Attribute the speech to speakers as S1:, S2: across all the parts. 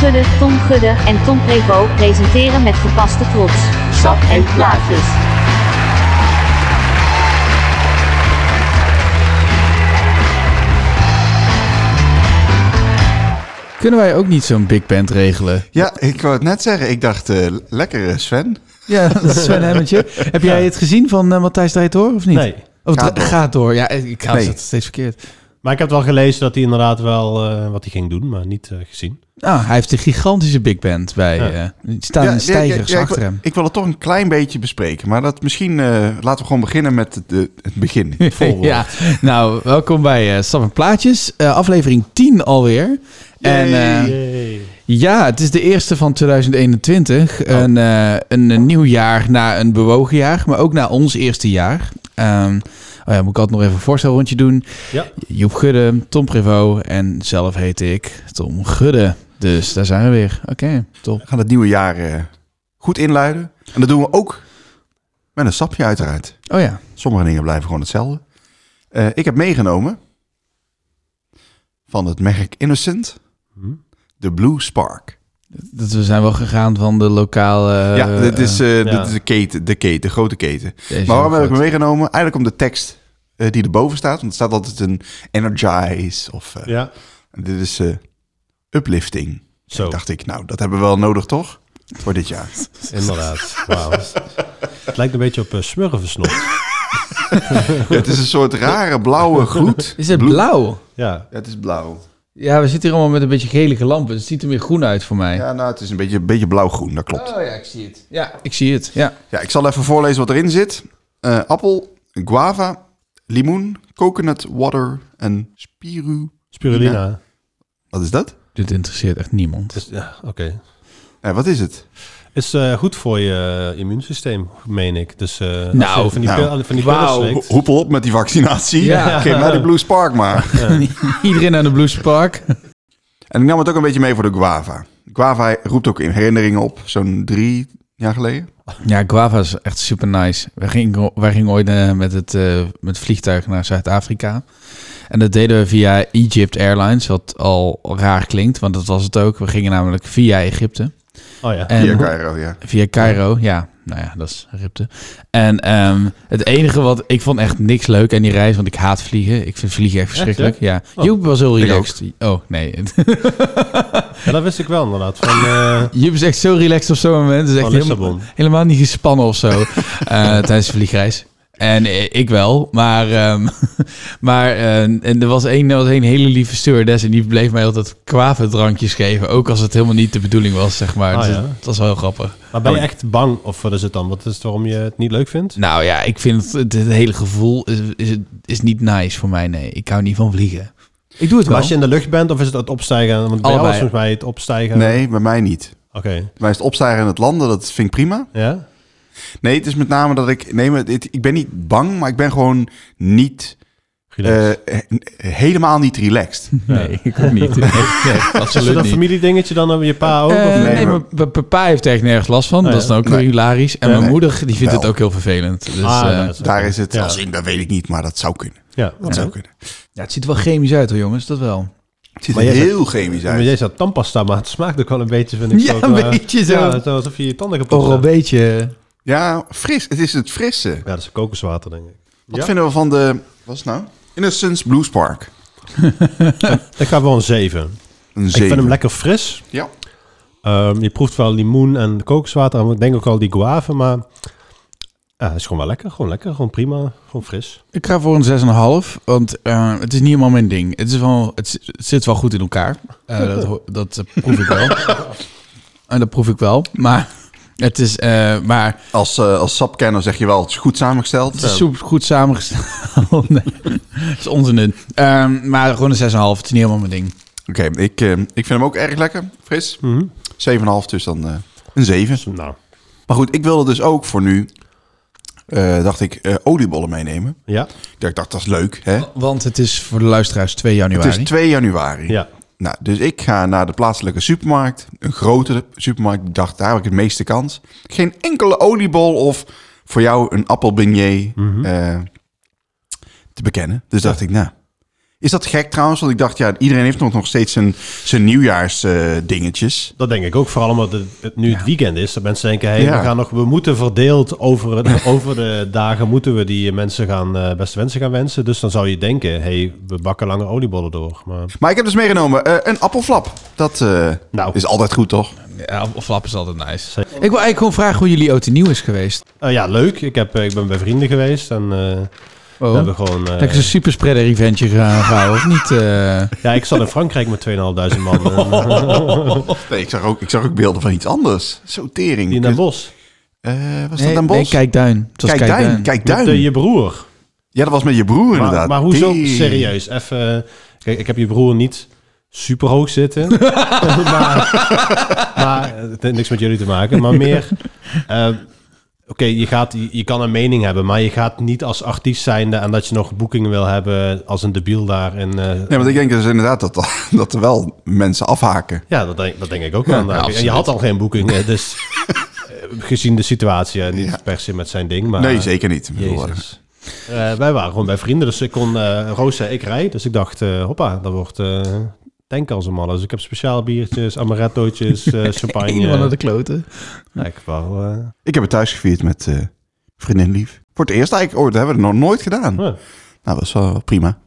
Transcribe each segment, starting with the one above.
S1: Gudde, Tom Gudde en Tom Prevo presenteren met gepaste trots. Sap en plaatjes.
S2: Kunnen wij ook niet zo'n big band regelen?
S3: Ja, ik wou het net zeggen. Ik dacht, eh, lekker eh, Sven.
S2: Ja, dat is Sven Hemmetje. Heb jij het gezien van eh, Matthijs Draait Door of niet?
S4: Nee.
S2: Of
S3: Gaat
S2: gaat
S3: door.
S2: door. Gaat door. Ja, ik had
S3: Nee.
S2: het steeds verkeerd.
S4: Maar ik heb wel gelezen dat hij inderdaad wel eh, wat hij ging doen, maar niet eh, gezien.
S2: Nou, hij heeft een gigantische big band bij.
S4: Ja.
S2: eh, die staan
S3: ja,
S2: in stijgers
S3: ja, ik,
S2: achter
S3: wil-
S2: hem.
S3: Ik wil het toch een klein beetje bespreken. Maar dat misschien eh, laten we gewoon beginnen met het, eh, het begin. Het voorbeeld.
S2: Ja, nou, welkom bij eh Stap en Plaatjes, eh, aflevering 10 alweer. En eh, ja, het is de eerste van 2021.
S3: Oh.
S2: Een, eh, een, een nieuw jaar na een bewogen jaar, maar ook na ons eerste jaar. Ehm, oh ja, moet ik altijd nog even een voorstelrondje doen.
S4: Ja.
S2: Joep Gudde, Tom Privo en zelf heet ik Tom Gudde. Dus daar zijn we weer. Oké, top.
S3: We gaan het nieuwe jaar eh, goed inluiden. En dat doen we ook met een sapje uiteraard.
S2: Oh ja,
S3: Sommige dingen blijven gewoon hetzelfde. Eh, ik heb meegenomen van het merk Innocent
S4: Hm?
S3: de Blue Spark.
S2: dat we zijn wel gegaan van de lokale...
S3: ja, dit is eh,
S4: ja.
S3: dit is de keten, de keten, de grote keten.
S2: eh, deze
S3: Maar waarom heb ik
S2: groot.
S3: me meegenomen? Eigenlijk om de tekst eh, die erboven staat. Want er staat altijd een energize of eh,
S4: Ja.
S3: dit is eh, uplifting.
S4: Zo,
S3: Dacht ik, nou, dat hebben we wel nodig toch? Voor dit jaar.
S4: inderdaad. Wauw. Het lijkt een beetje op uh, smurfensnot.
S3: het is een soort rare blauwe gloed.
S2: Is het
S3: Blue-
S2: blauw?
S4: Ja.
S3: Ja, het is blauw.
S2: Ja, we zitten hier allemaal met een beetje gelige lampen. Het ziet er meer groen uit voor mij. Oh
S3: Ja, nou, het is een beetje, een beetje blauw-groen, dat klopt.
S2: ja, ik zie het. Ja, ik zie het. Ja.
S3: Ja, ik zal even voorlezen wat erin zit. Eh, appel, guava, limoen, coconut water en spiru.
S4: Spirulina.
S3: Wat is dat?
S2: Dit interesseert echt niemand.
S4: Dus, ja, oké.
S3: Eh, wat is het?
S4: Is eh, goed voor je eh, immuunsysteem, meen ik. Dus eh, als
S2: Nou,
S4: je van die,
S3: nou.
S4: pil- van die
S2: Wauw.
S4: pillen
S3: Ho-
S4: slikt.
S3: Hoepel op met die vaccinatie.
S2: Ja.
S3: Geef mij die Blue Spark maar.
S2: Iedereen aan de Blues Park.
S3: En ik nam het ook een beetje mee voor de guava. Guava roept ook in herinneringen op, zo'n drie jaar geleden.
S2: Ja, guava is echt super nice. Wij gingen, wij gingen ooit eh, met het eh, met vliegtuig naar Zuid-Afrika. En dat deden we via Egypt Airlines, wat al raar klinkt, want dat was het ook. We gingen namelijk via Egypte.
S4: Oh ja.
S2: En
S3: Via Cairo, ja.
S2: Via Cairo, ja. Nou ja, dat is ripte. En ehm, het enige wat... Ik vond echt niks leuk aan die reis, want ik haat vliegen. Ik vind vliegen echt verschrikkelijk. ja.
S4: Oh.
S2: Joep was heel
S3: Ik
S2: relaxed. Oh, nee.
S4: ja, dat wist ik wel inderdaad. Van, eh,
S2: Joep is echt zo relaxed op zo'n moment. Het is
S4: Van
S2: echt helemaal,
S4: Lissabon.
S2: helemaal niet gespannen of zo eh, tijdens de vliegreis. En eh, ik wel, maar, ehm, maar eh, en er was één er was één hele lieve stewardess en die bleef mij altijd kwavendrankjes geven. Ook als het helemaal niet de bedoeling was, zeg maar.
S4: Ah,
S2: Dus
S4: ja.
S2: Het was wel heel grappig.
S4: maar ben je echt bang? Of wat is het dan? Wat is het waarom je het niet leuk vindt?
S2: Nou ja, ik vind het, het, het hele gevoel is, is, is niet nice voor mij. Nee, ik hou niet van vliegen. Ik doe het
S4: Maar
S2: wel.
S4: als je in de lucht bent of is het het opstijgen? Want bij jou
S2: Allebei.
S4: was volgens mij het opstijgen.
S3: Nee, bij mij niet.
S4: Oké.
S3: Bij mij is het opstijgen en het landen, dat vind ik prima.
S4: Ja?
S3: Nee, het is met name dat ik... Nee, maar het- ik ben niet bang, maar ik ben gewoon niet...
S4: Relaxed.
S3: eh, he- helemaal niet relaxed.
S2: Nee, ik ook niet. Nee, nee,
S4: is dat
S2: absoluut
S4: een
S2: niet.
S4: familiedingetje dan? eh, Je pa ook?
S2: Eh,
S4: of niet?
S2: nee,
S3: nee,
S2: maar mijn papa heeft er echt nergens last van.
S4: Oh,
S2: dat
S4: ja.
S2: is dan ook weer
S3: Nee.
S2: hilarisch. En
S3: Ja,
S2: mijn
S3: nee.
S2: moeder, die vindt
S3: Wel.
S2: het ook heel vervelend. Dus,
S4: Ah,
S2: eh,
S4: ja, dat
S3: Daar is het
S4: ja.
S3: als in, dat weet ik niet, maar dat zou kunnen.
S4: Ja,
S3: Dat zou kunnen.
S2: ja, het ziet er wel chemisch uit hoor jongens, dat wel.
S3: Het ziet
S4: Maar
S3: er
S4: jij zegt-
S3: heel chemisch
S4: Maar
S3: uit.
S4: jij zat tandpasta, maar het smaakt ook wel een beetje, vind ik.
S2: Ja,
S4: zo,
S2: een
S4: eh,
S2: beetje zo.
S4: Ja, zo alsof je je tanden kapot
S2: Oral
S4: hebt.
S2: beetje.
S3: Ja, fris. Het is het frisse.
S4: Ja, dat is kokoswater, denk ik.
S3: Wat
S4: Ja.
S3: vinden we van de... Wat is het nou? Innocence Blues Park.
S4: Ik ga wel een 7.
S3: Een
S4: Ik vind
S3: zeven.
S4: hem lekker fris.
S3: Ja.
S4: Ehm, je proeft wel limoen en kokoswater. En ik denk ook al die guave, maar... Ja, het is gewoon wel lekker. Gewoon lekker. Gewoon prima. Gewoon fris.
S2: Ik ga voor een 6,5, want eh, het is niet helemaal mijn ding. Het, is wel, het, zi- het zit wel goed in elkaar. Eh, dat, ho- dat eh, proef ik wel. en dat proef ik wel. Maar het is, eh, maar
S3: Als, eh, als sapkenner zeg je wel, het is goed samengesteld.
S2: het is soep goed samengesteld. nee, dat is onzin. Ehm, maar gewoon een 6,5. Het is niet helemaal mijn ding.
S3: Oké, ik, eh, ik vind hem ook erg lekker. Fris.
S4: Mhm.
S3: 7,5 dus dan eh, een 7.
S4: Dus, nou,
S3: Maar goed, ik wilde dus ook voor nu, eh, dacht ik, eh, oliebollen meenemen.
S4: ja.
S3: Ja, ik dacht, dat is leuk. Hè?
S4: Oh.
S2: Want het is voor de luisteraars 2 januari.
S3: Het is 2 januari.
S4: Ja.
S3: Nou, dus ik ga naar de plaatselijke supermarkt. Een grotere supermarkt. Ik dacht, daar heb ik het meeste kans. Geen enkele oliebol of voor
S4: Mhm.
S3: jou een appelbeignet eh, te bekennen. Dus dacht ik, nou, Is dat gek trouwens? Want ik dacht, ja, iedereen heeft nog, nog steeds zijn, zijn nieuwjaarsdingetjes.
S4: Dat denk ik ook, vooral omdat het, het nu het weekend is. Dat mensen denken, hey,
S3: Ja.
S4: we, gaan nog, we moeten verdeeld over, de- over de dagen... moeten we die mensen gaan, eh, beste wensen gaan wensen. Dus dan zou je denken, hey, we bakken lange oliebollen door. Maar
S3: maar ik heb dus meegenomen eh, een appelflap. Dat eh,
S4: Nou.
S3: is altijd goed, toch?
S2: Ja, of flap is altijd nice. Ik wil eigenlijk gewoon vragen hoe jullie oud en nieuw is geweest.
S4: eh, ja, leuk. Ik, heb, eh, ik ben bij vrienden geweest en eh, we hebben
S2: Oh.
S4: gewoon... eh,
S2: Dat is een superspreader eventje gaan houden, of niet? eh?
S4: ja, ik zat in Frankrijk met 2.500 man eh,
S3: Oh, Nee, ik zag ook, ik zag ook beelden van iets anders. Zo tering.
S4: in Den Bosch.
S3: Eh, was
S2: nee,
S3: dat Den
S2: nee,
S3: Bosch?
S2: Kijkduin. Het was
S3: Kijk,
S2: Kijkduin.
S3: Duin. Kijk,
S4: Met
S3: Duin.
S4: eh, je broer.
S3: Ja, dat was met je broer
S4: Maar,
S3: inderdaad.
S4: maar hoezo
S3: Die-
S4: serieus? Even, eh, kijk, ik heb je broer niet super hoog zitten. maar, maar eh, het heeft niks met jullie te maken. Maar meer, eh, oké, je, gaat- je, je kan een mening hebben, maar je gaat niet als artiest zijnde en dat je nog boekingen wil hebben als een debiel daar. En, eh,
S3: Nee, want ik denk dus inderdaad dat, dat er wel mensen afhaken.
S4: ja, dat denk, dat denk ik ook wel. Nou,
S2: ja,
S4: en je
S2: absoluut.
S4: had al geen boekingen, dus eh, gezien de situatie, eh, niet per se met zijn ding. Maar,
S3: nee, zeker niet. Ik bedoel, eh,
S4: Jezus. Eh, wij waren gewoon bij vrienden, dus ik kon... eh Roos zei, ik rij. Dus ik dacht, eh, hoppa, dat wordt eh tanken als een malle. Dus ik heb speciaal biertjes, amarettootjes, eh, champagne.
S2: Iemand aan de kloten.
S4: Ja, ik wel... eh,
S3: Ik heb het thuis gevierd met eh, vriendin Lief. Voor het eerst eigenlijk ooit. Dat hebben we nog nooit gedaan.
S4: Ja.
S3: Nou, dat is wel prima.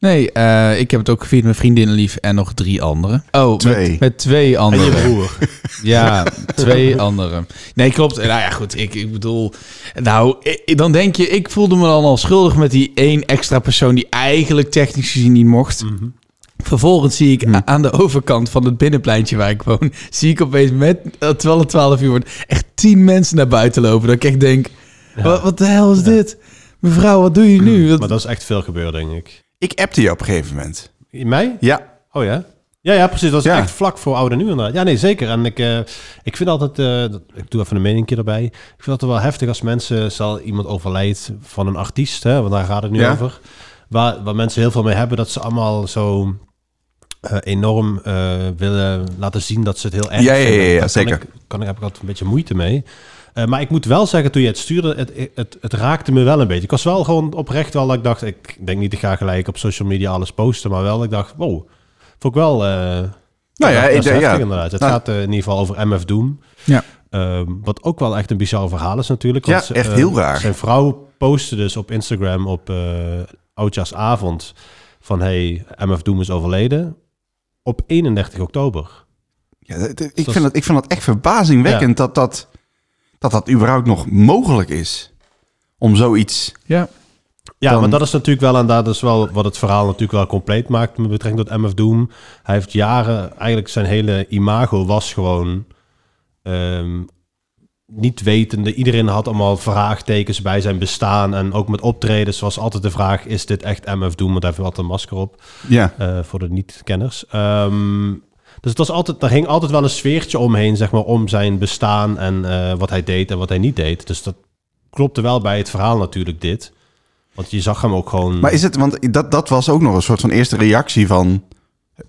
S2: Nee, eh, ik heb het ook gevierd met vriendinnen lief en nog drie anderen. Oh, met-
S3: Twee.
S2: Met, twee
S4: en je
S2: anderen.
S4: broer.
S2: Ja, twee anderen. Nee, klopt. Nou ja, goed. Ik, ik bedoel, nou, i- i- dan denk je, ik voelde me dan al schuldig met die één extra persoon die eigenlijk technisch gezien niet mocht.
S4: Mhm.
S2: Vervolgens zie ik a- aan de overkant van het binnenpleintje waar ik woon, zie ik opeens met, eh, terwijl het 12 uur wordt, echt tien mensen naar buiten lopen. Dat ik echt denk, wat, wat de hel is dit? Mevrouw, wat doe je nu? Wat-
S4: Mhm. maar dat is echt veel gebeurd, denk ik.
S3: Ik appte je op een gegeven moment.
S4: In mij?
S3: Ja.
S4: Oh ja? Ja, ja, precies. Dat is
S3: Ja.
S4: echt vlak voor oude nu inderdaad. Ja, nee, zeker. En ik, eh, ik vind altijd... eh, dat- ik doe even een meningje erbij. Ik vind het altijd wel heftig als mensen... Zal iemand overlijdt van een artiest, hè, want daar gaat het nu
S3: Ja.
S4: over. Waar, waar mensen heel veel mee hebben, dat ze allemaal zo... eh, enorm eh, willen laten zien dat ze het heel erg
S3: Ja, ja, ja,
S4: vinden.
S3: ja,
S4: Daar kan
S3: zeker.
S4: Ik, kan, ik- heb ik altijd een beetje moeite mee. Eh, maar ik moet wel zeggen, toen je het stuurde, het, het, het raakte me wel een beetje. Ik was wel gewoon oprecht wel dat ik dacht... Ik denk niet, ik ga gelijk op social media alles posten. Maar wel, dat ik dacht, wow, vond ik wel... eh,
S3: Nou ja,
S4: dat is
S3: ik denk,
S4: heftig
S3: ja.
S4: inderdaad. Het
S3: Nou.
S4: gaat eh, in ieder geval over MF Doom.
S2: Ja.
S4: Ehm, wat ook wel echt een bizar verhaal is natuurlijk.
S3: Ja,
S4: want ze-
S3: echt
S4: eh,
S3: heel raar.
S4: Zijn vrouw postte dus op Instagram op eh Oudjaarsavond... van hey, MF Doom is overleden op 31 oktober.
S3: ja dat- dat- ik, vind dat, ik vind dat echt verbazingwekkend dat, dat, dat dat überhaupt nog mogelijk is. Om zoiets...
S2: Ja.
S4: Ja,
S3: Dan-
S4: maar dat is natuurlijk wel en dat is wel wat het verhaal natuurlijk wel compleet maakt met betrekking tot MF Doom. Hij heeft jaren, eigenlijk zijn hele imago was gewoon ehm, niet wetende. Iedereen had allemaal vraagtekens bij zijn bestaan en ook met optredens was altijd de vraag: is dit echt MF Doom? Want hij heeft altijd een masker op.
S3: Ja.
S4: Eh, voor de niet-kenners. Ehm, dus het was altijd, er ging altijd wel een sfeertje omheen, zeg maar, om zijn bestaan en eh, wat hij deed en wat hij niet deed. Dus dat klopte wel bij het verhaal natuurlijk, dit. Want je zag hem ook gewoon...
S3: Maar is het... Want dat, dat was ook nog een soort van eerste reactie van...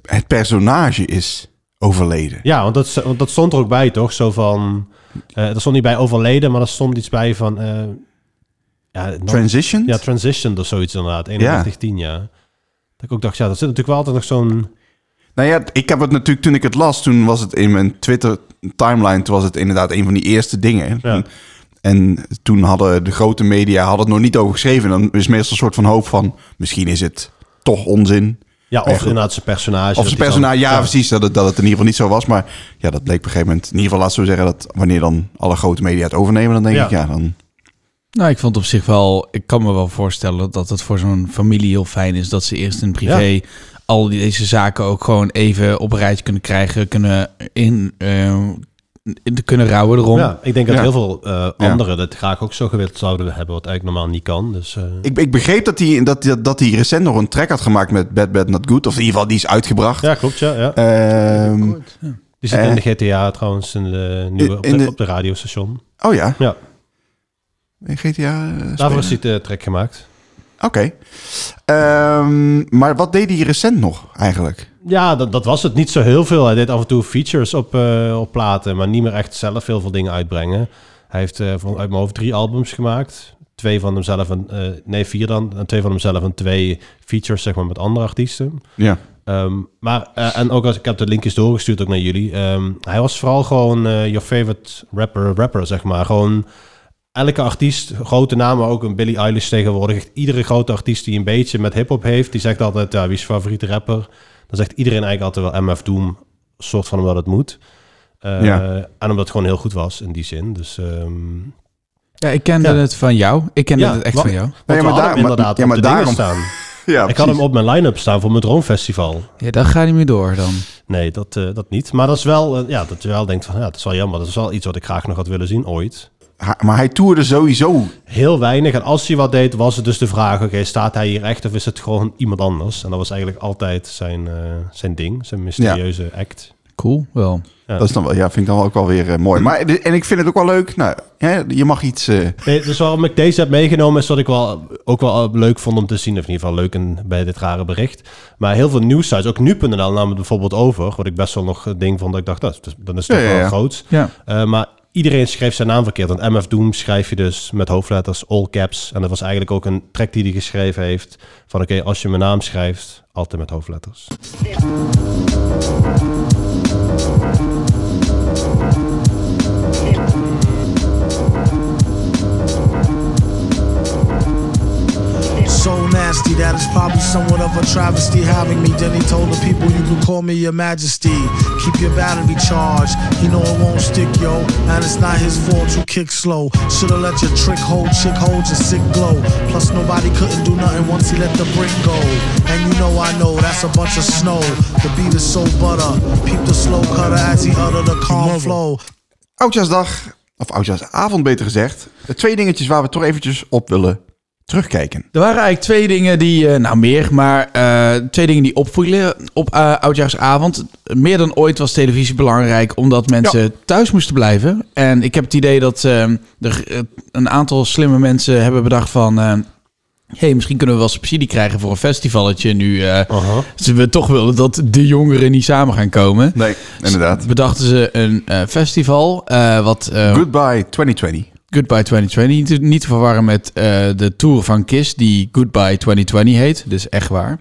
S3: Het personage is overleden.
S4: Ja, want dat, want dat stond er ook bij, toch? Zo van... eh er stond niet bij overleden, maar er stond iets bij van... eh, ja, nog-
S3: Transition?
S4: ja, transitioned of zoiets inderdaad. 31, 10 jaar. Dat ik ook dacht, ja, dat zit natuurlijk wel altijd nog zo'n...
S3: Nou ja, ik heb het natuurlijk toen ik het las, toen was het in mijn Twitter timeline, toen was het inderdaad een van die eerste dingen.
S4: Ja.
S3: En toen hadden de grote media hadden het nog niet over geschreven. Dan is meestal een soort van hoop van misschien is het toch onzin.
S4: Ja, of
S3: Eigenlijk-
S4: inderdaad zijn personage.
S3: Of
S4: dat
S3: zijn
S4: die dan-
S3: personage, ja, precies, dat het, dat het in ieder geval niet zo was. Maar ja, dat bleek op een gegeven moment. In ieder geval, laten we zeggen dat wanneer dan alle grote media het overnemen, dan denk
S4: Ja.
S3: ik ja, dan.
S2: Nou, ik vond op zich wel, ik kan me wel voorstellen dat het voor zo'n familie heel fijn is dat ze eerst in privé
S4: Ja.
S2: al die- deze zaken ook gewoon even op een rijtje kunnen krijgen, kunnen in, eh, in- kunnen rouwen erom.
S4: Ja, ik denk dat
S3: Ja.
S4: heel veel eh,
S3: Ja.
S4: anderen dat graag ook zo gewild zouden hebben, wat eigenlijk normaal niet kan. Dus eh,
S3: Ik, ik begreep dat hij dat, dat, dat hij recent nog een track had gemaakt met Bad Bad Not Good. Of in ieder geval, die is uitgebracht.
S4: ja, klopt. Ja, ja.
S3: Ehm,
S4: Die zit
S3: eh,
S4: in de GTA trouwens, in de nieuwe, op,
S3: in
S4: de,
S3: de-
S4: op de radiostation.
S3: oh ja,
S4: Ja,
S3: GTA. eh,
S4: daarvoor
S3: spelen.
S4: is die de track gemaakt.
S3: Oké. Ehm, maar wat deed hij recent nog eigenlijk?
S4: Ja, dat, dat was het niet zo heel veel. Hij deed af en toe features op, eh, op platen, maar niet meer echt zelf heel veel dingen uitbrengen. Hij heeft eh, van, uit mijn hoofd drie albums gemaakt. twee van hemzelf en eh, nee, vier dan. En twee van hemzelf en twee features, zeg maar, met andere artiesten.
S3: Ja.
S4: Ehm, maar, eh, en ook als ik heb de linkjes doorgestuurd ook naar jullie. Ehm, hij was vooral gewoon eh, your favorite rapper, rapper, zeg maar. Gewoon elke artiest, grote namen, ook een Billie Eilish tegenwoordig. Echt iedere grote artiest die een beetje met hip-hop heeft, die zegt altijd: ja, wie is je favoriete rapper? Dan zegt iedereen eigenlijk altijd wel MF Doom, soort van omdat het moet. Eh,
S3: Ja.
S4: En omdat het gewoon heel goed was in die zin. Dus ehm,
S2: Ja, ik kende
S4: Ja.
S2: het van jou. Ik kende
S4: Ja,
S2: het echt
S4: wat-
S2: van jou.
S4: want
S3: ja,
S4: we
S3: maar
S4: hadden
S3: daar-
S4: hem inderdaad
S3: ja,
S4: op
S3: maar
S4: de dingen
S3: daarom-
S4: staan.
S3: ja
S4: ik had hem op mijn line-up staan voor mijn Droomfestival.
S2: Ja, dan ga je niet meer door dan.
S4: Nee, dat, eh, dat niet. Maar dat is wel, eh, ja, dat je wel denkt van, ja, dat is wel jammer. Dat is wel iets wat ik graag nog had willen zien ooit.
S3: Ha- maar hij toerde sowieso.
S4: Heel weinig. En als hij wat deed, was het dus de vraag, oké, staat hij hier echt of is het gewoon iemand anders? En dat was eigenlijk altijd zijn, eh, zijn ding, zijn mysterieuze act.
S2: Cool, wel.
S4: Ja.
S3: Dat is dan wel, ja, vind ik dan ook wel weer eh, mooi. Maar, de- en ik vind het ook wel leuk. Nou, hè, je mag iets... eh,
S4: Nee, dus waarom ik deze heb meegenomen is dat ik wel, ook wel leuk vond om te zien. Of in ieder geval leuk in, bij dit rare bericht. Maar heel veel nieuwsites, ook nu.nl nam het bijvoorbeeld over. Wat ik best wel nog een ding vond dat ik dacht, dat is, dus, dan is het
S3: Ja,
S4: toch
S3: ja,
S4: wel
S3: ja.
S4: groot.
S2: Ja.
S4: Eh, maar iedereen schreef zijn naam verkeerd. Want MF Doom schrijf je dus met hoofdletters all caps. En dat was eigenlijk ook een track die hij geschreven heeft. Van oké, als je mijn naam schrijft, altijd met hoofdletters.
S5: So nasty that it's probably somewhat of a travesty having me. Then he told the people you can call me your majesty. Keep your battery charged. He know it won't stick, yo. And it's not his fault you kick slow. Shoulda let your trick hold, chick hold your sick glow. Plus nobody couldn't do nothing once he let the brick go. And you know I know that's a bunch of snow. The beat is so butter. Peep the slow cutter as he utter the calm flow.
S3: Oudjaarsdag, of Oudjaarsavond beter gezegd. Eh, Twee dingetjes waar we toch eventjes op willen terugkijken.
S2: Er waren eigenlijk twee dingen die, eh, nou meer, maar eh, twee dingen die opvielen op eh, oudjaarsavond. Meer dan ooit was televisie belangrijk, omdat mensen thuis moesten blijven. En ik heb het idee dat eh, er eh, een aantal slimme mensen hebben bedacht van... eh, hey, misschien kunnen we wel subsidie krijgen voor een festivalletje nu. eh,
S4: Aha.
S2: ze we toch willen dat de jongeren niet samen gaan komen.
S3: Nee, inderdaad.
S2: Bedachten ze een eh, festival, eh, wat eh,
S3: Goodbye 2020.
S2: Goodbye 2020. Niet te, niet te verwarren met eh, de tour van Kiss, die Goodbye 2020 heet. Dus echt waar.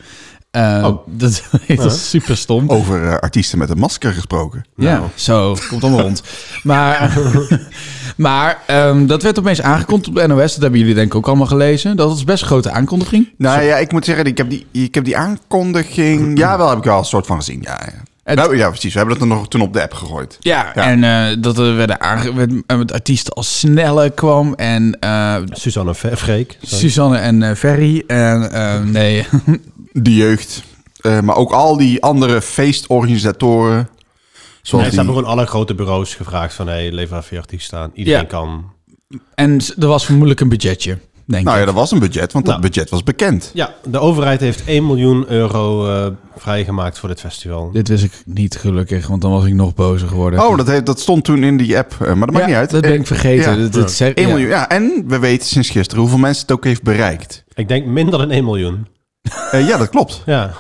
S2: Eh,
S3: Oh.
S2: dat, dat is super stom.
S3: Over eh, artiesten met een masker gesproken.
S2: Ja, zo, komt allemaal rond. Maar, maar ehm, dat werd opeens aangekondigd op de NOS. Dat hebben jullie denk ik ook allemaal gelezen. Dat was best een grote aankondiging.
S3: Nou ja, ik moet zeggen, ik heb die, ik heb die aankondiging... Ja, wel heb ik wel een soort van gezien, ja. ja.
S2: Het-
S3: nou, ja, precies. We hebben dat er nog toen op de app gegooid.
S2: Ja,
S3: Ja.
S2: en eh, dat er werden aange- werd, eh, met artiesten als Snelle kwam en eh,
S4: Suzanne Ve- Freek. sorry.
S2: Suzanne en eh, Ferry. En eh, nee,
S3: De jeugd. eh, maar ook al die andere feestorganisatoren. Zoals
S4: Nee, ze
S3: die...
S4: hebben gewoon alle grote bureaus gevraagd van... hey, lever even je artiest aan. Iedereen
S2: Ja.
S4: kan.
S2: en s- er was vermoedelijk een budgetje, denk
S3: Nou
S2: ik.
S3: ja, dat was een budget, want
S4: Nou.
S3: dat budget was bekend.
S4: Ja, de overheid heeft 1 miljoen euro eh, vrijgemaakt voor dit festival.
S2: Dit wist ik niet gelukkig, want dan was ik nog bozer geworden.
S3: Oh, dat, heeft, dat stond toen in die app, eh, maar dat maakt
S2: Ja,
S3: niet uit.
S2: Dat ben ik vergeten.
S3: Ja.
S2: Dat, dat zeg-
S3: 1
S2: ja.
S3: miljoen, ja. En we weten sinds gisteren hoeveel mensen het ook heeft bereikt.
S4: Ik denk minder dan 1 miljoen.
S3: Eh, ja, dat klopt.
S4: Ja,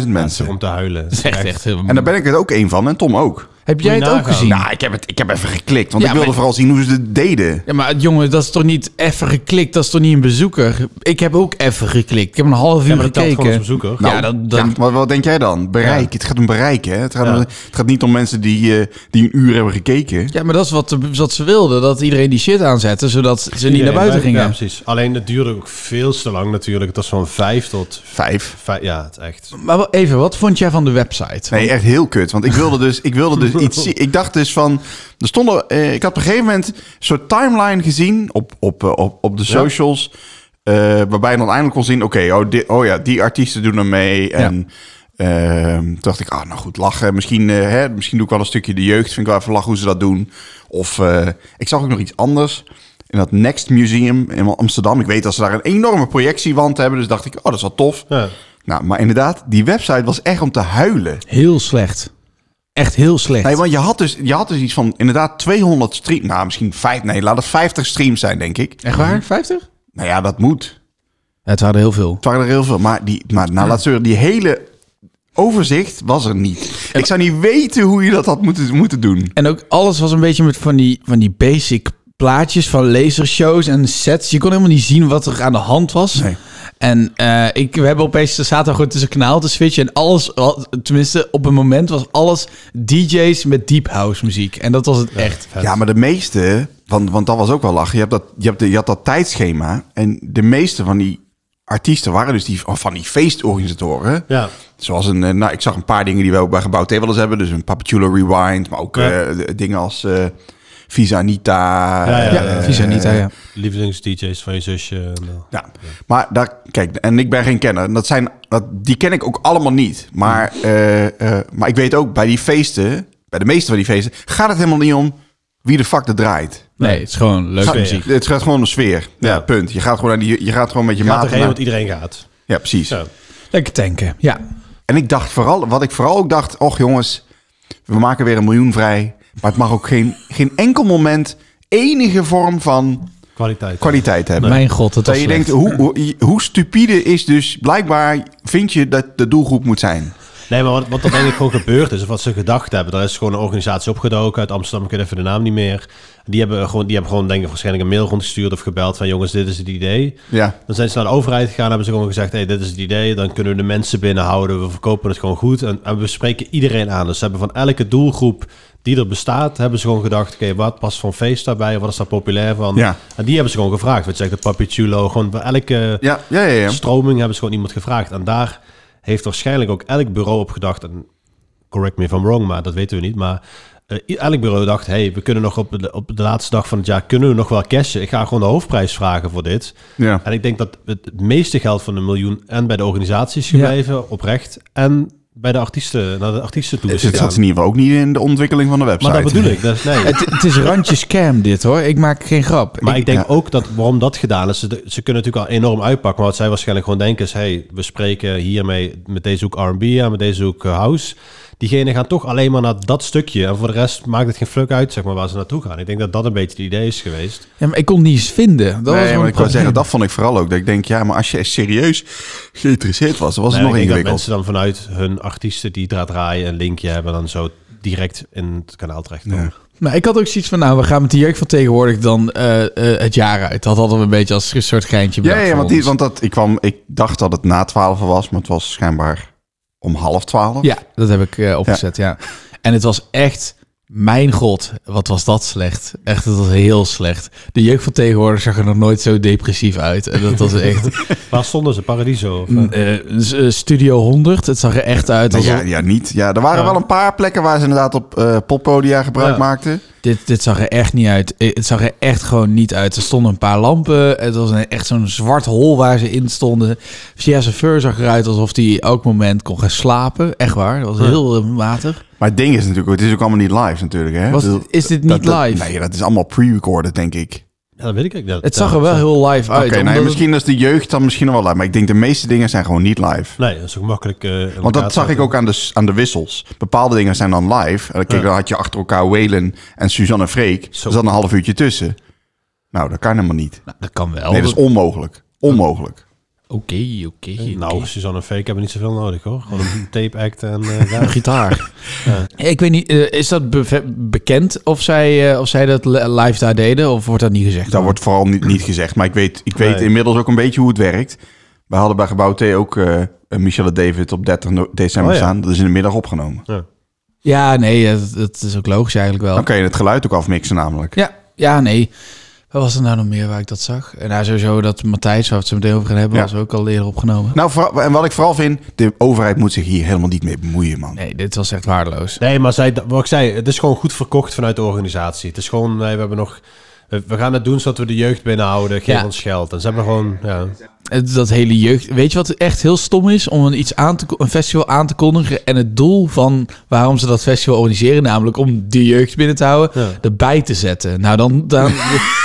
S3: 650.000 mensen.
S4: om te huilen.
S2: Dat is echt, echt heel-
S3: En daar ben ik het ook één van, en Tom ook.
S2: Heb jij het
S4: Moet je
S2: ook
S4: nagaan.
S2: gezien?
S3: Nou, ik heb, het, ik heb even geklikt, want
S2: Ja,
S3: ik wilde
S2: maar-
S3: vooral zien hoe ze het deden.
S2: Ja, maar jongen, dat is toch niet even geklikt? Dat is toch niet een bezoeker? Ik heb ook even geklikt. Ik heb een half uur
S4: Ja, maar dat telt
S2: gekeken.
S4: gewoon als bezoeker.
S2: ja, dat, dat,
S3: Oh, Ja, maar wat denk jij dan? Bereik. Het gaat om bereik, hè? Het gaat,
S4: Ja.
S3: om- het gaat niet om mensen die, eh, die een uur hebben gekeken.
S2: ja, maar dat is wat, de- wat ze wilden. Dat iedereen die shit aanzette, zodat ze niet naar buiten
S4: Ja,
S2: gingen.
S4: precies. Alleen het duurde ook veel te lang natuurlijk. Het was van vijf tot...
S3: Vijf.
S4: Vijf, ja, het is echt.
S2: Maar wel even, wat vond jij van de website?
S3: Nee, echt heel kut. Want ik wilde dus, ik wilde dus iets zien. Ik dacht dus van... Er stonden, eh, ik had op een gegeven moment een soort timeline gezien op, op, eh, op, op de socials. eh, waarbij je dan eindelijk kon zien... Oké, oh, dit- oh ja, die artiesten doen er mee. En ehm, toen dacht ik, ah, nou goed, lachen. Misschien, eh, hè, misschien doe ik wel een stukje de jeugd. Vind ik wel even lachen hoe ze dat doen. Of eh, ik zag ook nog iets anders. In dat Next Museum in Amsterdam. Ik weet dat ze daar een enorme projectiewand hebben. Dus dacht ik, oh, dat is wel tof.
S4: Ja.
S3: Nou, maar inderdaad, die website was echt om te huilen.
S2: Heel slecht. Echt heel slecht.
S3: Nee, want je had, dus, je had dus iets van inderdaad 200 streams. Nou, misschien vijf. Nee, laat het 50 streams zijn, denk ik.
S2: Echt waar? 50?
S3: Nou ja, dat moet.
S2: Ja, het waren heel veel.
S3: Het waren er heel veel. Maar, die, maar nou, laat zeggen, die hele overzicht was er niet. Ik zou niet weten hoe je dat had moeten, moeten doen.
S2: En ook alles was een beetje met van die, van die basic plaatjes van lasershows en sets. Je kon helemaal niet zien wat er aan de hand was.
S3: Nee.
S2: En eh, ik, we hebben opeens, er zaten gewoon tussen kanaal te switchen. En alles, wat- tenminste op een moment was alles DJ's met deep house muziek. En dat was het echt.
S3: Ja, maar de meeste, want, want dat was ook wel lachen. Je, hebt dat, je, hebt de, je had dat tijdschema. En de meeste van die artiesten waren dus die, of van die feestorganisatoren.
S4: Ja.
S3: Zoals een, eh, nou, ik zag een paar dingen die we ook bij Gebouw Tables hebben. Dus een Papachulo Rewind, maar ook
S4: Ja.
S3: eh, de- dingen als eh Visa Anita.
S4: Ja, ja,
S3: eh,
S4: ja.
S2: Visa Anita, ja.
S4: Lievelingsdj's van je zusje. en, eh,
S3: Ja, maar daar, kijk, en ik ben geen kenner. En Dat zijn, dat, die ken ik ook allemaal niet. Maar, eh, eh, maar ik weet ook, bij die feesten, bij de meeste van die feesten, gaat het helemaal niet om wie de fuck er draait.
S2: Nee, het is gewoon leuke
S3: Ga-
S2: muziek.
S3: Het gaat gewoon om sfeer. Ja,
S4: Ja.
S3: punt. Je gaat gewoon, naar die, je gaat gewoon met je
S4: Gaat
S3: maat.
S4: erheen, want iedereen gaat.
S3: Ja, precies.
S4: Ja.
S2: Lekker tanken, ja.
S3: En ik dacht vooral, wat ik vooral ook dacht, och jongens, we maken weer een miljoen vrij. Maar het mag ook geen, geen enkel moment enige vorm van
S4: Kwaliteit.
S3: kwaliteit hebben.
S2: Mijn god, dat
S3: Dat
S2: was
S3: je
S2: slecht.
S3: denkt, hoe, hoe, hoe stupide is dus blijkbaar, vind je dat de doelgroep moet zijn?
S4: Nee, maar wat, wat er denk ik gewoon gebeurd is, of wat ze gedacht hebben, daar is gewoon een organisatie opgedoken uit Amsterdam, ik weet even de naam niet meer. Die hebben gewoon, die hebben gewoon denk ik waarschijnlijk een mail rondgestuurd of gebeld van jongens, dit is het idee.
S3: Ja.
S4: Dan zijn ze naar de overheid gegaan, hebben ze gewoon gezegd, hey, dit is het idee, dan kunnen we de mensen binnenhouden, we verkopen het gewoon goed en, en we spreken iedereen aan. Dus ze hebben van elke doelgroep die er bestaat, hebben ze gewoon gedacht, oké, wat past van feest daarbij, wat is daar populair van?
S3: Ja.
S4: En die hebben ze gewoon gevraagd, weet je, zegt de Papichulo, gewoon bij elke
S3: Ja, ja, ja. ja.
S4: stroming hebben ze gewoon iemand gevraagd. En daar heeft waarschijnlijk ook elk bureau op gedacht. En correct me if I'm wrong, maar dat weten we niet. Maar eh, i- elk bureau dacht, hey, we kunnen nog op de, op de laatste dag van het jaar kunnen we nog wel cashen. Ik ga gewoon de hoofdprijs vragen voor dit.
S3: Ja.
S4: En ik denk dat het, het meeste geld van de miljoen en bij de organisaties gebleven, oprecht. En bij de artiesten, naar de artiesten toe. is
S3: Dus het
S4: gegaan.
S3: zat in ieder geval ook niet in de ontwikkeling van de website.
S4: maar dat bedoel ik. Dat is, nee.
S2: Het, het is randje scam dit hoor. Ik maak geen grap.
S4: Maar ik, denk
S3: ja.
S4: ook dat waarom dat gedaan is, ze, ze kunnen natuurlijk al enorm uitpakken. Maar wat zij waarschijnlijk gewoon denken is, hey, we spreken hiermee met deze ook R&B aan, met deze ook house. Diegenen gaan toch alleen maar naar dat stukje. En voor de rest maakt het geen fuck uit, zeg maar, waar ze naartoe gaan. Ik denk dat dat een beetje het idee is geweest.
S2: Ja, maar ik kon niets vinden. Dat was
S3: nee,
S2: gewoon
S3: maar
S2: een
S3: ik wou
S2: probleem.
S3: zeggen, dat vond ik vooral ook. Dat ik denk, ja, maar als je serieus geïnteresseerd was, dan was het
S4: Nee,
S3: nog
S4: ik denk dat
S3: ingewikkeld.
S4: mensen dan vanuit hun artiesten die daar draaien een linkje hebben en dan zo direct in het kanaal terecht komen.
S2: Maar ik had ook zoiets van, nou, we gaan met de jeugd van tegenwoordig dan eh, eh, het jaar uit. Dat hadden we een beetje als een soort geintje
S3: Ja,
S2: bedacht
S3: ja,
S2: voor
S3: want, die,
S2: ons.
S3: want dat, ik, kwam, ik dacht dat het na twaalf was, maar het was schijnbaar om half twaalf.
S2: Ja, dat heb ik eh, opgezet, ja. En het was echt, mijn god, wat was dat slecht. Echt, het was heel slecht. De jeugd van tegenwoordig zag er nog nooit zo depressief uit. En dat was echt...
S4: Waar stonden ze? Paradiso? Of, eh?
S2: eh, s- eh, Studio 100, het zag er echt uit
S3: Nee,
S2: als...
S3: Dus ja, ja, niet. Ja, er waren
S4: Ja.
S3: wel een paar plekken waar ze inderdaad op eh, poppodia gebruik
S4: Ja.
S3: maakten.
S2: Dit, dit zag er echt niet uit. Eh, Het zag er echt gewoon niet uit. Er stonden een paar lampen. Het was een, echt zo'n zwart hol waar ze in stonden. Via chauffeur zag eruit alsof hij elk moment kon gaan slapen. Echt waar. Dat was heel eh, matig.
S3: Maar het ding is natuurlijk, ook- het is ook allemaal niet live natuurlijk. Hè?
S2: Was-
S3: Ik bedoel,
S2: is dit
S3: dat-
S2: niet
S3: dat-
S2: live?
S3: nee, dat is allemaal pre-recorded, denk ik.
S4: Ja, dat weet ik niet. Dat-
S2: Het zag er
S4: dat-
S2: wel heel live uit.
S3: Oké,
S2: Ah,
S3: nee,
S2: omdat het-
S3: misschien is de jeugd dan misschien nog wel live. Maar ik denk de meeste dingen zijn gewoon niet live.
S4: Nee, dat is ook makkelijk. eh, in elkaar
S3: Want dat
S4: te
S3: zag ik
S4: zetten.
S3: ook aan de, s- aan de wissels. Bepaalde dingen zijn dan live. En dan, kijk,
S4: Ja.
S3: dan had je achter elkaar Whalen en Suzanne Freek. Er
S4: Zo.
S3: zat een half uurtje tussen. Nou, dat kan helemaal niet.
S2: Nou, dat kan wel.
S3: Nee, dat is Eh, onmogelijk. Onmogelijk.
S2: Oké, oké.
S4: Nou, Suzanne en Fake hebben niet zoveel nodig hoor. Gewoon een tape act en eh, ja.
S2: Een gitaar. Ik weet niet, eh, is dat beve- bekend of zij, eh, of zij dat li- live daar deden? Of wordt dat niet gezegd?
S3: Dat wordt vooral niet, niet gezegd. Maar ik weet, ik weet
S4: Nee.
S3: inmiddels ook een beetje hoe het werkt. We hadden bij Gebouw T ook eh Michelle David op 30 no- december
S4: Oh ja. Oh.
S3: staan. Dat is in de middag opgenomen.
S2: Ja, nee, eh, dat, dat is ook logisch eigenlijk wel.
S3: Dan kan je het geluid ook afmixen namelijk.
S2: Ja, ja, nee. Wat was er nou nog meer waar ik dat zag? En nou, sowieso dat Matthijs, waar we het zo meteen over gaan hebben,
S3: Ja.
S2: was ook al eerder opgenomen.
S3: Nou, vooral- en wat ik vooral vind, de overheid moet zich hier helemaal niet mee bemoeien, man.
S2: Nee, dit was echt waardeloos.
S4: Nee, maar zij, wat ik zei, het is gewoon goed verkocht vanuit de organisatie. Het is gewoon, nee, we hebben nog... We we gaan het doen zodat we de jeugd binnenhouden. Geef
S2: Ja.
S4: ons geld. En ze hebben gewoon... Ja.
S2: Het- Dat hele jeugd... Weet je wat echt heel stom is? Om een, iets aan te, ko- een festival aan te kondigen en het doel van waarom ze dat festival organiseren, namelijk om de jeugd binnen te houden,
S4: Ja.
S2: erbij te zetten. Nou, dan... dan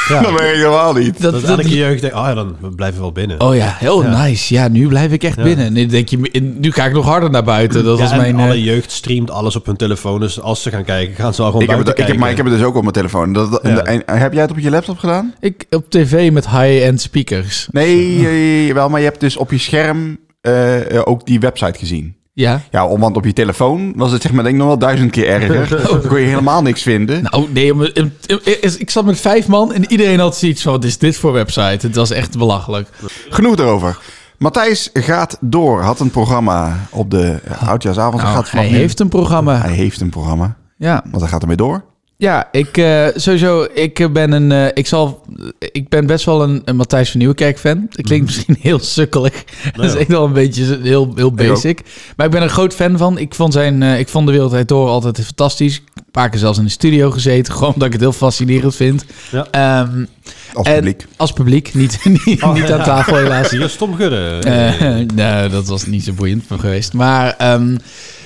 S4: Ja.
S3: Dat
S4: Dat,
S3: werkt helemaal niet.
S2: dat-
S4: elke jeugd denkt, oh ja, dan we blijven wel binnen.
S2: Oh ja, heel nice. Ja, nu blijf ik echt binnen. En nu denk je, in- nu ga ik nog harder naar buiten. Dat
S4: Ja,
S2: was
S4: en
S2: mijn... eh,
S4: alle jeugd streamt alles op hun telefoon. Dus als ze gaan kijken, gaan ze al gewoon
S3: Ik heb, het,
S4: buiten
S3: ik heb, maar ik
S4: kijken.
S3: heb het dus ook op mijn telefoon. Dat, dat- en
S4: Ja.
S3: de- en- en heb jij het op je laptop gedaan?
S2: ik op tv met high-end speakers.
S3: Nee, eh, wel, maar je hebt dus op je scherm eh, eh, ook die website gezien.
S2: Ja.
S3: Ja, om- want op je telefoon was het zeg maar denk ik nog wel duizend keer erger. Dan kon je helemaal niks vinden.
S2: Nou, nee, maar- em- em- is- ik zat met vijf man en iedereen had zoiets van... wat is dit voor website? Het was echt belachelijk.
S3: Genoeg daarover. Matthijs gaat door. Had een programma op de eh, oudjaarsavond.
S2: Nou,
S3: gaat vanaf
S2: hij
S3: nu-
S2: heeft een
S3: hij
S2: programma.
S3: heeft een programma.
S2: Ja,
S3: Want hij gaat ermee door.
S2: ja ik, eh, sowieso, ik eh, ben, een, eh, ik zal, ik ben best wel een, een Matthijs van Nieuwkerk-fan. Dat klinkt
S3: Mhm.
S2: misschien heel sukkelig. Dat is echt wel een beetje z- heel, heel basic. Maar ik ben er een groot fan van. Ik vond, zijn, eh, ik vond De Wereld Draait Door altijd fantastisch. Een paar keer zelfs in de studio gezeten. Gewoon omdat ik het heel fascinerend vind.
S4: Ja.
S2: Ehm,
S3: Als
S2: en-
S3: publiek.
S2: Als publiek, niet, niet,
S4: Oh,
S2: niet
S4: ja.
S2: aan tafel helaas.
S4: Zie je, stom gudde.
S2: Eh, nou, dat was niet zo boeiend voor geweest. Maar ehm,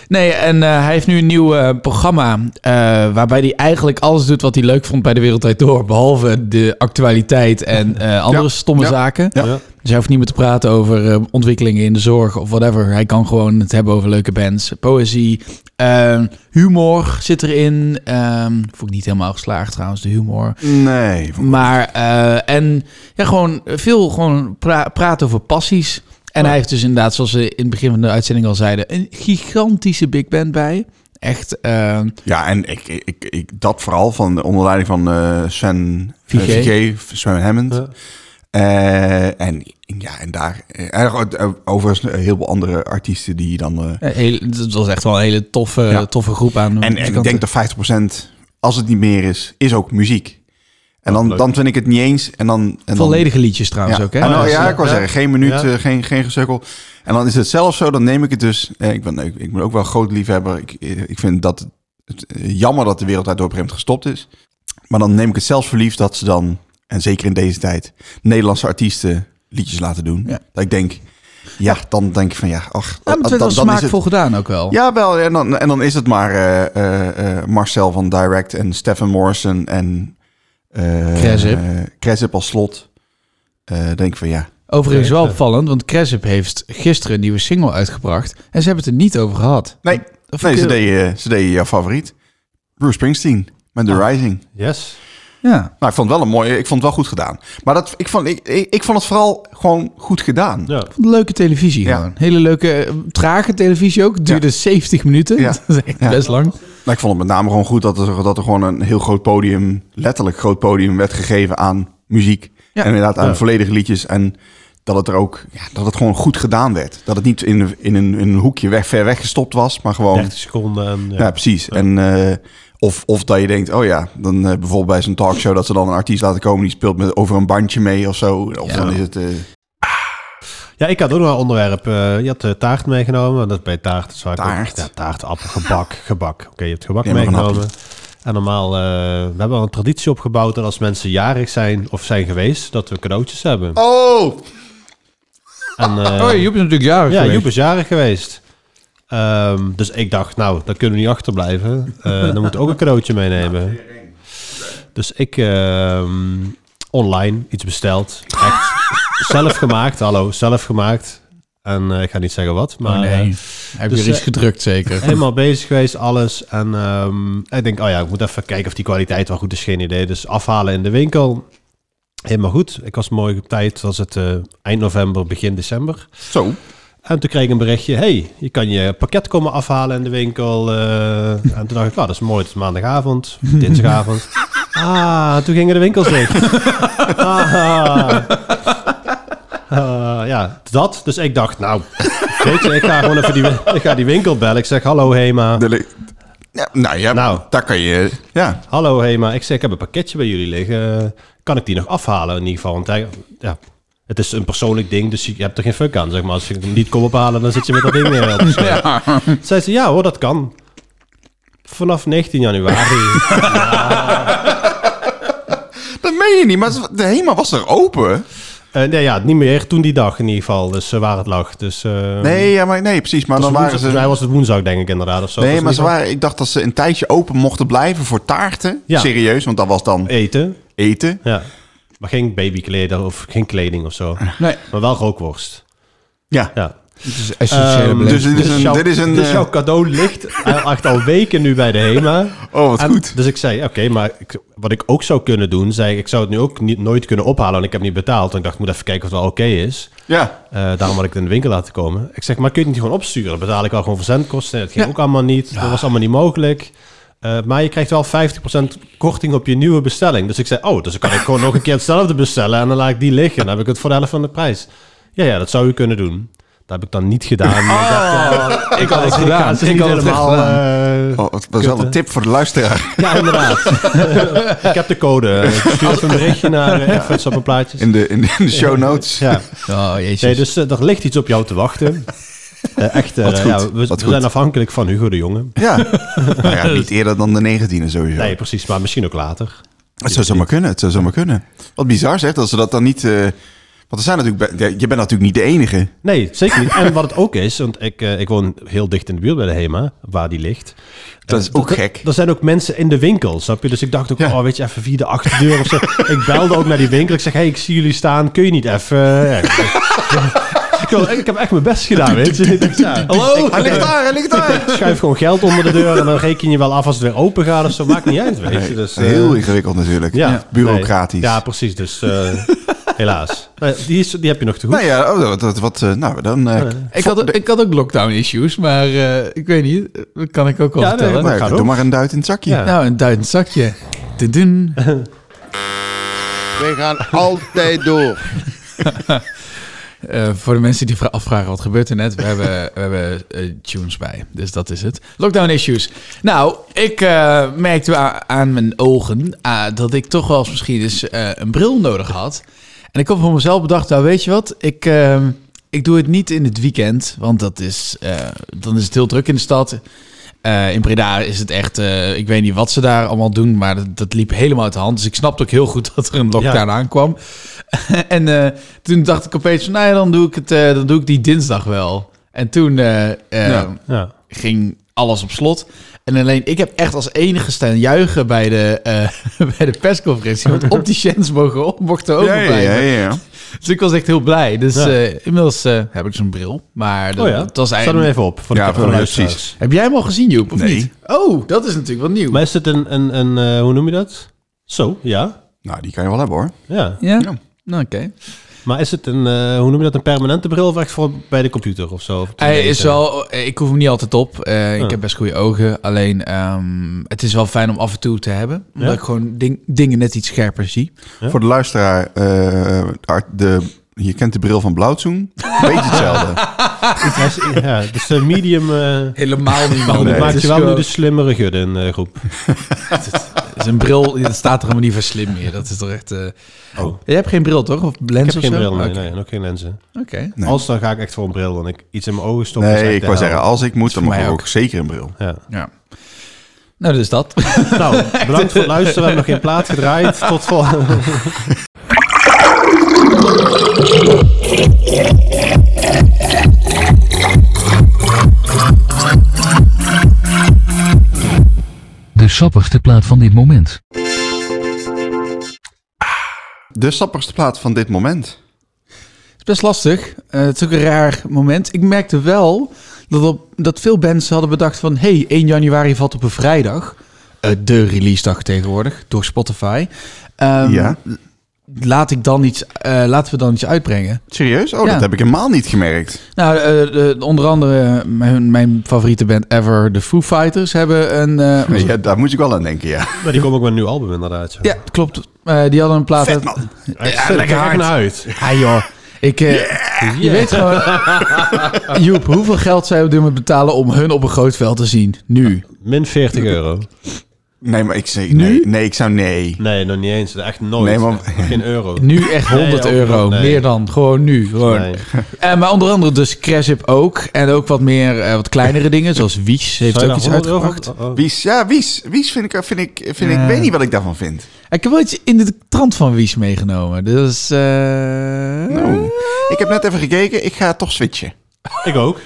S2: nee, en eh, hij heeft nu een nieuw eh, programma. eh, waarbij hij eigenlijk alles doet wat hij leuk vond bij de Wereld Draait Door. Behalve de actualiteit en eh, andere
S3: Ja,
S2: stomme
S3: ja.
S2: zaken.
S3: Ja.
S4: Ja.
S2: Dus hij hoeft niet meer te praten over eh, ontwikkelingen in de zorg of whatever. Hij kan gewoon het hebben over leuke bands, poëzie, eh, humor zit erin. Ehm vond ik niet helemaal geslaagd trouwens, de humor.
S3: Nee.
S2: Maar, eh, en ja, gewoon veel gewoon pra- praten over passies. En hij heeft dus inderdaad, zoals we in het begin van de uitzending al zeiden, een gigantische big band bij. Echt, eh,
S3: Ja, en ik, ik, ik, dat vooral van onder leiding van eh Sven
S2: Vigé.
S3: Vigé, Sven Hammond.
S4: Ja.
S3: Eh, en ja, en daar. eh, en ook, eh, overigens een heleboel andere artiesten die dan. eh,
S2: ja, heel, dat was echt wel een hele toffe,
S3: Ja.
S2: toffe groep aan
S3: en, en ik denk dat 50%, als het niet meer is, is ook muziek. En dan,
S4: leuk.
S3: dan vind ik het niet eens. En dan, en dan,
S2: Volledige liedjes trouwens
S3: ja. Ah, nou,
S2: ook, hè?
S3: En dan-
S4: Ja,
S3: ja, ik wou
S4: ja.
S3: zeggen, geen minuut,
S4: Ja.
S3: eh, geen, geen gezukkel. En dan is het zelfs zo, dan neem ik het dus. eh, ik, ben, ik, ik ben ook wel een groot liefhebber. Ik, eh, ik vind dat het, het, eh, jammer dat de wereld daardoor op een gegeven moment gestopt is. Maar dan neem ik het zelfs verliefd dat ze dan, en zeker in deze tijd, Nederlandse artiesten liedjes laten doen.
S2: Ja.
S3: Dat ik denk, ja, dan denk ik van ja, ach.
S2: Ja, maar het werd wel
S3: is het-
S2: smaakvol gedaan ook wel.
S3: ja, wel. En dan, en dan is het maar eh, eh, eh, Marcel van Direct en Stefan Morrison en... eh,
S2: Krezip.
S3: eh, Krezip als slot. Eh, denk ik van ja.
S2: Overigens wel opvallend, want Cresip heeft gisteren een nieuwe single uitgebracht. En ze hebben het er niet over gehad.
S3: Nee,
S2: Dat
S3: nee
S2: vind
S3: ze,
S2: ik-
S3: deden, eh, ze deden jouw favoriet. Bruce Springsteen met The Rising.
S4: Yes.
S2: Ja.
S3: Nou, ik vond het wel een mooie... Ik vond het wel goed gedaan. Maar dat, ik, vond, ik, ik, ik vond het vooral gewoon goed gedaan.
S4: Ja.
S2: Ik vond het Leuke televisie
S3: Ja.
S2: gewoon. Hele leuke, eh, trage televisie ook. Duurde 70 minuten.
S3: Ja.
S2: Dat is echt
S3: Ja.
S2: best lang.
S3: Nou, ik vond het met name gewoon goed dat er, dat er gewoon een heel groot podium... letterlijk groot podium werd gegeven aan muziek.
S2: Ja.
S3: En inderdaad aan
S4: Ja.
S3: volledige liedjes. En dat het er ook... Ja, dat het gewoon goed gedaan werd. Dat het niet in, in, een, in een hoekje weg, ver weg gestopt was. Maar gewoon...
S4: 30 seconden. En, ja.
S3: Ja, precies. En, eh, of, of dat je denkt, oh ja, dan eh, bijvoorbeeld bij zo'n talkshow dat ze dan een artiest laten komen die speelt met, over een bandje mee of zo. Of
S2: Ja.
S3: dan is het. eh,
S4: Ja, ik had ook nog een onderwerp. eh, je had eh, taart meegenomen. Dat is bij taart. is vaak ook-
S3: Taart?
S4: Ja, taart, appel, gebak, gebak. Oké, je hebt gebak
S3: Neem maar een
S4: meegenomen. En normaal, eh, we hebben al een traditie opgebouwd dat als mensen jarig zijn of zijn geweest, dat we cadeautjes hebben.
S3: oh!
S4: En, eh,
S2: oh, Joep is natuurlijk jarig
S4: ja,
S2: geweest.
S4: Joep is jarig geweest. Ehm, dus ik dacht, nou, daar kunnen we niet achterblijven. Eh dan moeten we ook een cadeautje meenemen. Dus ik ehm, online iets besteld. Echt zelf gemaakt, hallo, zelf gemaakt. En eh, ik ga niet zeggen wat, maar
S2: Oh nee,
S4: eh,
S2: hij heeft
S4: dus,
S2: weer iets
S4: eh,
S2: gedrukt zeker.
S4: helemaal bezig geweest, alles. En ehm, ik denk, oh ja, ik moet even kijken of die kwaliteit wel goed is, geen idee. Dus afhalen in de winkel. Helemaal goed. Ik was mooi op tijd, was het eh, eind november, begin december.
S3: Zo.
S4: En toen kreeg ik een berichtje, hey, je kan je pakket komen afhalen in de winkel. eh. en toen dacht ik, oh, dat is mooi, het is maandagavond, dinsdagavond. Ah, toen gingen de winkels dicht. Ah. Ah, ja, dat. Dus ik dacht, nou, weet je, ik ga gewoon even die, win- ik ga die winkel bellen. Ik zeg, hallo Hema.
S3: De li- ja, nou ja,
S4: Nou.
S3: daar kan je. Ja.
S4: Hallo Hema, ik zeg, ik heb een pakketje bij jullie liggen. Kan ik die nog afhalen in ieder geval? Want hij- ja, het is een persoonlijk ding, dus je je hebt er geen fuck aan, zeg maar. Als ik hem niet kom ophalen, dan zit je met dat ding eh, op je schouder. Zei ze, ja hoor, dat kan. Vanaf 19 januari.
S3: Dat meen je niet, maar ze- de HEMA was er open.
S4: Eh, nee, ja, niet meer. Toen die dag in ieder geval. Dus eh, waar het lag. Dus, eh,
S3: Nee, ja, maar, nee precies. Maar
S4: het
S3: dan
S4: was woensdag,
S3: waren
S4: volgens mij
S3: ze.
S4: was het woensdag, denk ik, inderdaad. Of zo. Dus
S3: Nee,
S4: Het
S3: maar
S4: was
S3: ze
S4: in ieder
S3: waren, ik dacht dat ze een tijdje open mochten blijven voor taarten.
S4: Ja.
S3: Serieus, want dat was dan
S4: geval Eten,
S3: eten.
S4: ja. Maar geen babykleding of geen kleding of zo.
S2: Nee.
S4: Maar wel rookworst.
S3: Ja.
S4: Ja.
S2: Het is essentiële
S4: Ehm,
S2: beleving.
S3: Dus dit is een...
S4: jouw-
S3: Dit is een
S4: dus jouw
S3: eh,
S4: cadeau ligt echt al weken nu bij de HEMA.
S3: oh, wat
S4: En-
S3: goed.
S4: Dus ik zei, oké, maar ik- wat ik ook zou kunnen doen, zei ik, ik zou het nu ook niet, nooit kunnen ophalen, en ik heb niet betaald. En ik dacht, ik moet even kijken of het wel oké is.
S3: Ja.
S4: Eh, daarom had ik het in de winkel laten komen. Ik zeg, maar kun je het niet gewoon opsturen? Dan betaal ik al gewoon verzendkosten. Het ging ook allemaal niet. Dat was allemaal niet mogelijk. Eh, maar je krijgt wel 50% korting op je nieuwe bestelling. Dus ik zei, oh, dus dan kan ik gewoon nog een keer hetzelfde bestellen. En dan laat ik die liggen. Dan heb ik het voor de helft van de prijs. Ja, ja, dat zou u kunnen doen. Dat heb ik dan niet gedaan. Ik dacht, eh,
S2: Oh, ik had het
S4: ga
S2: gedaan.
S4: ze
S2: Ik
S4: niet
S2: had het echt
S4: helemaal, eh,
S3: Oh, dat was wel een tip voor de luisteraar.
S4: ja, inderdaad. ik heb de code. Ik stuur even een berichtje naar eh, Efforts op een plaatjes.
S3: In de, in de, in de show notes.
S4: Ja.
S2: Oh, jezus.
S4: Nee, dus eh, er ligt iets op jou te wachten. Eh, echt, eh,
S3: Wat goed,
S4: ja, we, we
S3: wat goed.
S4: zijn afhankelijk van Hugo de Jonge.
S3: Ja. nou ja, niet eerder dan de 19e sowieso.
S4: Nee, precies, maar misschien ook later.
S3: Het zou zomaar kunnen, het zou zomaar kunnen. Wat bizar zeg, dat ze dat dan niet... eh, want er zijn natuurlijk... be- Je bent natuurlijk niet de enige.
S4: Nee, zeker niet. En wat het ook is, want ik, eh, ik woon heel dicht in de buurt bij de HEMA, waar die ligt.
S3: Dat is ook
S4: Er-
S3: gek.
S4: Er zijn ook mensen in de winkel, snap je? Dus ik dacht ook,
S3: Ja.
S4: oh, weet je, even via de achterdeur of zo. ik belde ook naar die winkel. Ik zeg, hey, ik zie jullie staan. Kun je niet even... eh, Ja, ik- ik, wil- ik heb echt mijn best gedaan, weet je. Ja.
S2: Hallo?
S3: Hij ligt daar, hij ligt daar!
S4: Ik schuif gewoon geld onder de deur en dan reken je wel af als het weer open gaat of zo. Maakt niet uit, weet je. Dus, eh,
S3: Heel ingewikkeld natuurlijk.
S4: ja,
S3: Bureaucratisch.
S4: nee. Ja, precies. Dus eh, helaas. Nee, die, is, die heb je nog te goed.
S3: Nou ja, oh, wat, wat, wat, eh, nou, dan... eh,
S2: Ik had, ook- ik had ook lockdown-issues, maar eh, ik weet niet. Dat kan ik ook wel
S4: Ja, nee,
S2: vertellen.
S4: maar-
S3: nou,
S4: gaat
S3: doe
S4: ook.
S3: maar een duit in het zakje.
S4: Ja.
S2: Nou, een duidend zakje. Te doen.
S6: We gaan altijd door.
S2: Eh, voor de mensen die vra- afvragen wat gebeurt er net, we hebben, we hebben eh, tunes bij. Dus dat is het. Lockdown issues. Nou, ik eh, merkte wa- aan mijn ogen ah, dat ik toch wel eens misschien eens eh, een bril nodig had. En ik heb voor mezelf bedacht, nou weet je wat, ik, eh, ik doe het niet in het weekend, want dat is, eh, dan is het heel druk in de stad. Eh, in Breda is het echt, eh, ik weet niet wat ze daar allemaal doen, maar dat, dat liep helemaal uit de hand. Dus ik snapte ook heel goed dat er een lockdown aankwam. en eh, toen dacht ik opeens, van, nou ja, dan doe ik, het, eh, dan doe ik die dinsdag wel. En toen eh, eh,
S3: Ja.
S4: Ja.
S2: ging alles op slot. En alleen, ik heb echt als enige staan juichen bij de, eh, bij de persconferentie. Want op die chance mogen, op- mochten
S3: Ja,
S2: overblijven.
S3: ja, ja, ja.
S2: Dus ik was echt heel blij. Dus
S4: Ja.
S2: eh, inmiddels eh, heb ik zo'n bril. Maar dat,
S4: Oh ja,
S2: dat was
S4: Zet hem
S2: eigenlijk...
S4: even op. Voor
S3: Ja,
S4: de, voor
S3: voor
S4: de
S3: de
S4: luisteraars.
S3: precies.
S2: Heb jij hem al gezien, Joep, of
S3: Nee.
S2: niet? Oh, dat is natuurlijk wat nieuw.
S4: Maar is het een, een, een eh, hoe noem je dat? Zo, ja.
S3: Nou, die kan je wel hebben hoor.
S4: ja.
S2: Ja?
S3: Ja.
S2: Nou, oké.
S4: Maar is het een, eh, hoe noem je dat, een permanente bril of echt voor bij de computer of zo?
S2: Hij is wel... eh, Ik hoef hem niet altijd op. Eh,
S4: Ja.
S2: Ik heb best goede ogen. Alleen, ehm, het is wel fijn om af en toe te hebben. Omdat
S4: Ja?
S2: ik gewoon ding- dingen net iets scherper zie.
S4: Ja.
S3: Voor de luisteraar, eh, de art- de, je kent de bril van Blauwzoen. Beetje hetzelfde.
S4: Hij is- Ja, dus eh, medium... eh
S2: Helemaal niet, man.
S4: dat
S2: Het
S4: maakt
S2: is
S4: je wel nu dus-
S2: gewoon-
S4: de slimmere gudde in de groep.
S2: Het is een bril, dat staat er helemaal niet voor slim meer. Dat is toch echt... eh,
S4: Oh.
S2: Je hebt geen bril, toch? Of
S4: Ik
S2: lens
S4: heb
S2: of
S4: geen
S2: zo?
S4: bril, nee,
S2: Oké.
S4: nee, en ook geen lenzen.
S2: Oké.
S3: Nee.
S4: Als dan ga ik echt voor een bril en ik iets in mijn ogen stop.
S3: Nee, ik wou zeggen, als ik moet, dan
S2: voor
S3: mag ik
S2: mij
S3: ook. zeker een bril.
S4: Ja.
S2: Ja. Nou, dus dat.
S4: Nou, bedankt voor het luisteren. We hebben nog geen plaat gedraaid. Tot volgende.
S7: De sappigste plaat van dit moment.
S3: De sappigste plaat van dit moment.
S2: Het is best lastig. Eh, het is ook een raar moment. Ik merkte wel dat, op, dat veel bands hadden bedacht van... hey, 1 januari valt op een vrijdag. Eh, de release dag tegenwoordig, door Spotify. Ehm,
S3: ja.
S2: laat ik dan iets, eh, laten we dan iets uitbrengen.
S3: Serieus? Oh,
S2: Ja.
S3: dat heb ik helemaal niet gemerkt.
S2: Nou, eh, eh, onder andere mijn, mijn favoriete band ever, de Foo Fighters, hebben een... eh,
S3: Ja, daar moet ik wel aan denken, ja.
S4: Maar die komen ook met een nieuw album inderdaad. zo.
S2: ja, klopt. Eh, die hadden een plaat... uit-
S4: Echt,
S2: Ja,
S4: zet
S2: lekker
S4: er
S2: hard.
S4: echt naar uit.
S2: Ah joh, ik... eh, Je weet gewoon... Joep, hoeveel geld zij op dit moment betalen om hun op een groot veld te zien? Nu.
S4: Min 40 euro.
S3: Nee, maar ik zeg nee. Nee, ik zou nee.
S4: Nee, nog niet eens. Echt nooit.
S3: Nee, maar-
S4: Geen euro.
S2: Nu echt 100
S4: Nee, ook
S2: euro.
S4: nog, nee.
S2: Meer dan. Gewoon nu. Gewoon.
S4: Nee.
S2: Eh, maar onder andere dus Craship ook. En ook wat meer, eh, wat kleinere dingen. Zoals Wies heeft
S4: Zou je
S2: ook iets
S4: daar 100 euro voor-
S2: uitgebracht.
S4: oh, oh.
S3: Wies, ja, Wies. Wies vind ik, vind ik, vind ik,
S2: Ja.
S3: weet niet wat ik daarvan vind.
S2: Ik heb wel iets in de trant van Wies meegenomen. Dus... eh,
S3: Nou, ik heb net even gekeken, ik ga toch switchen.
S4: oh. Ik ook.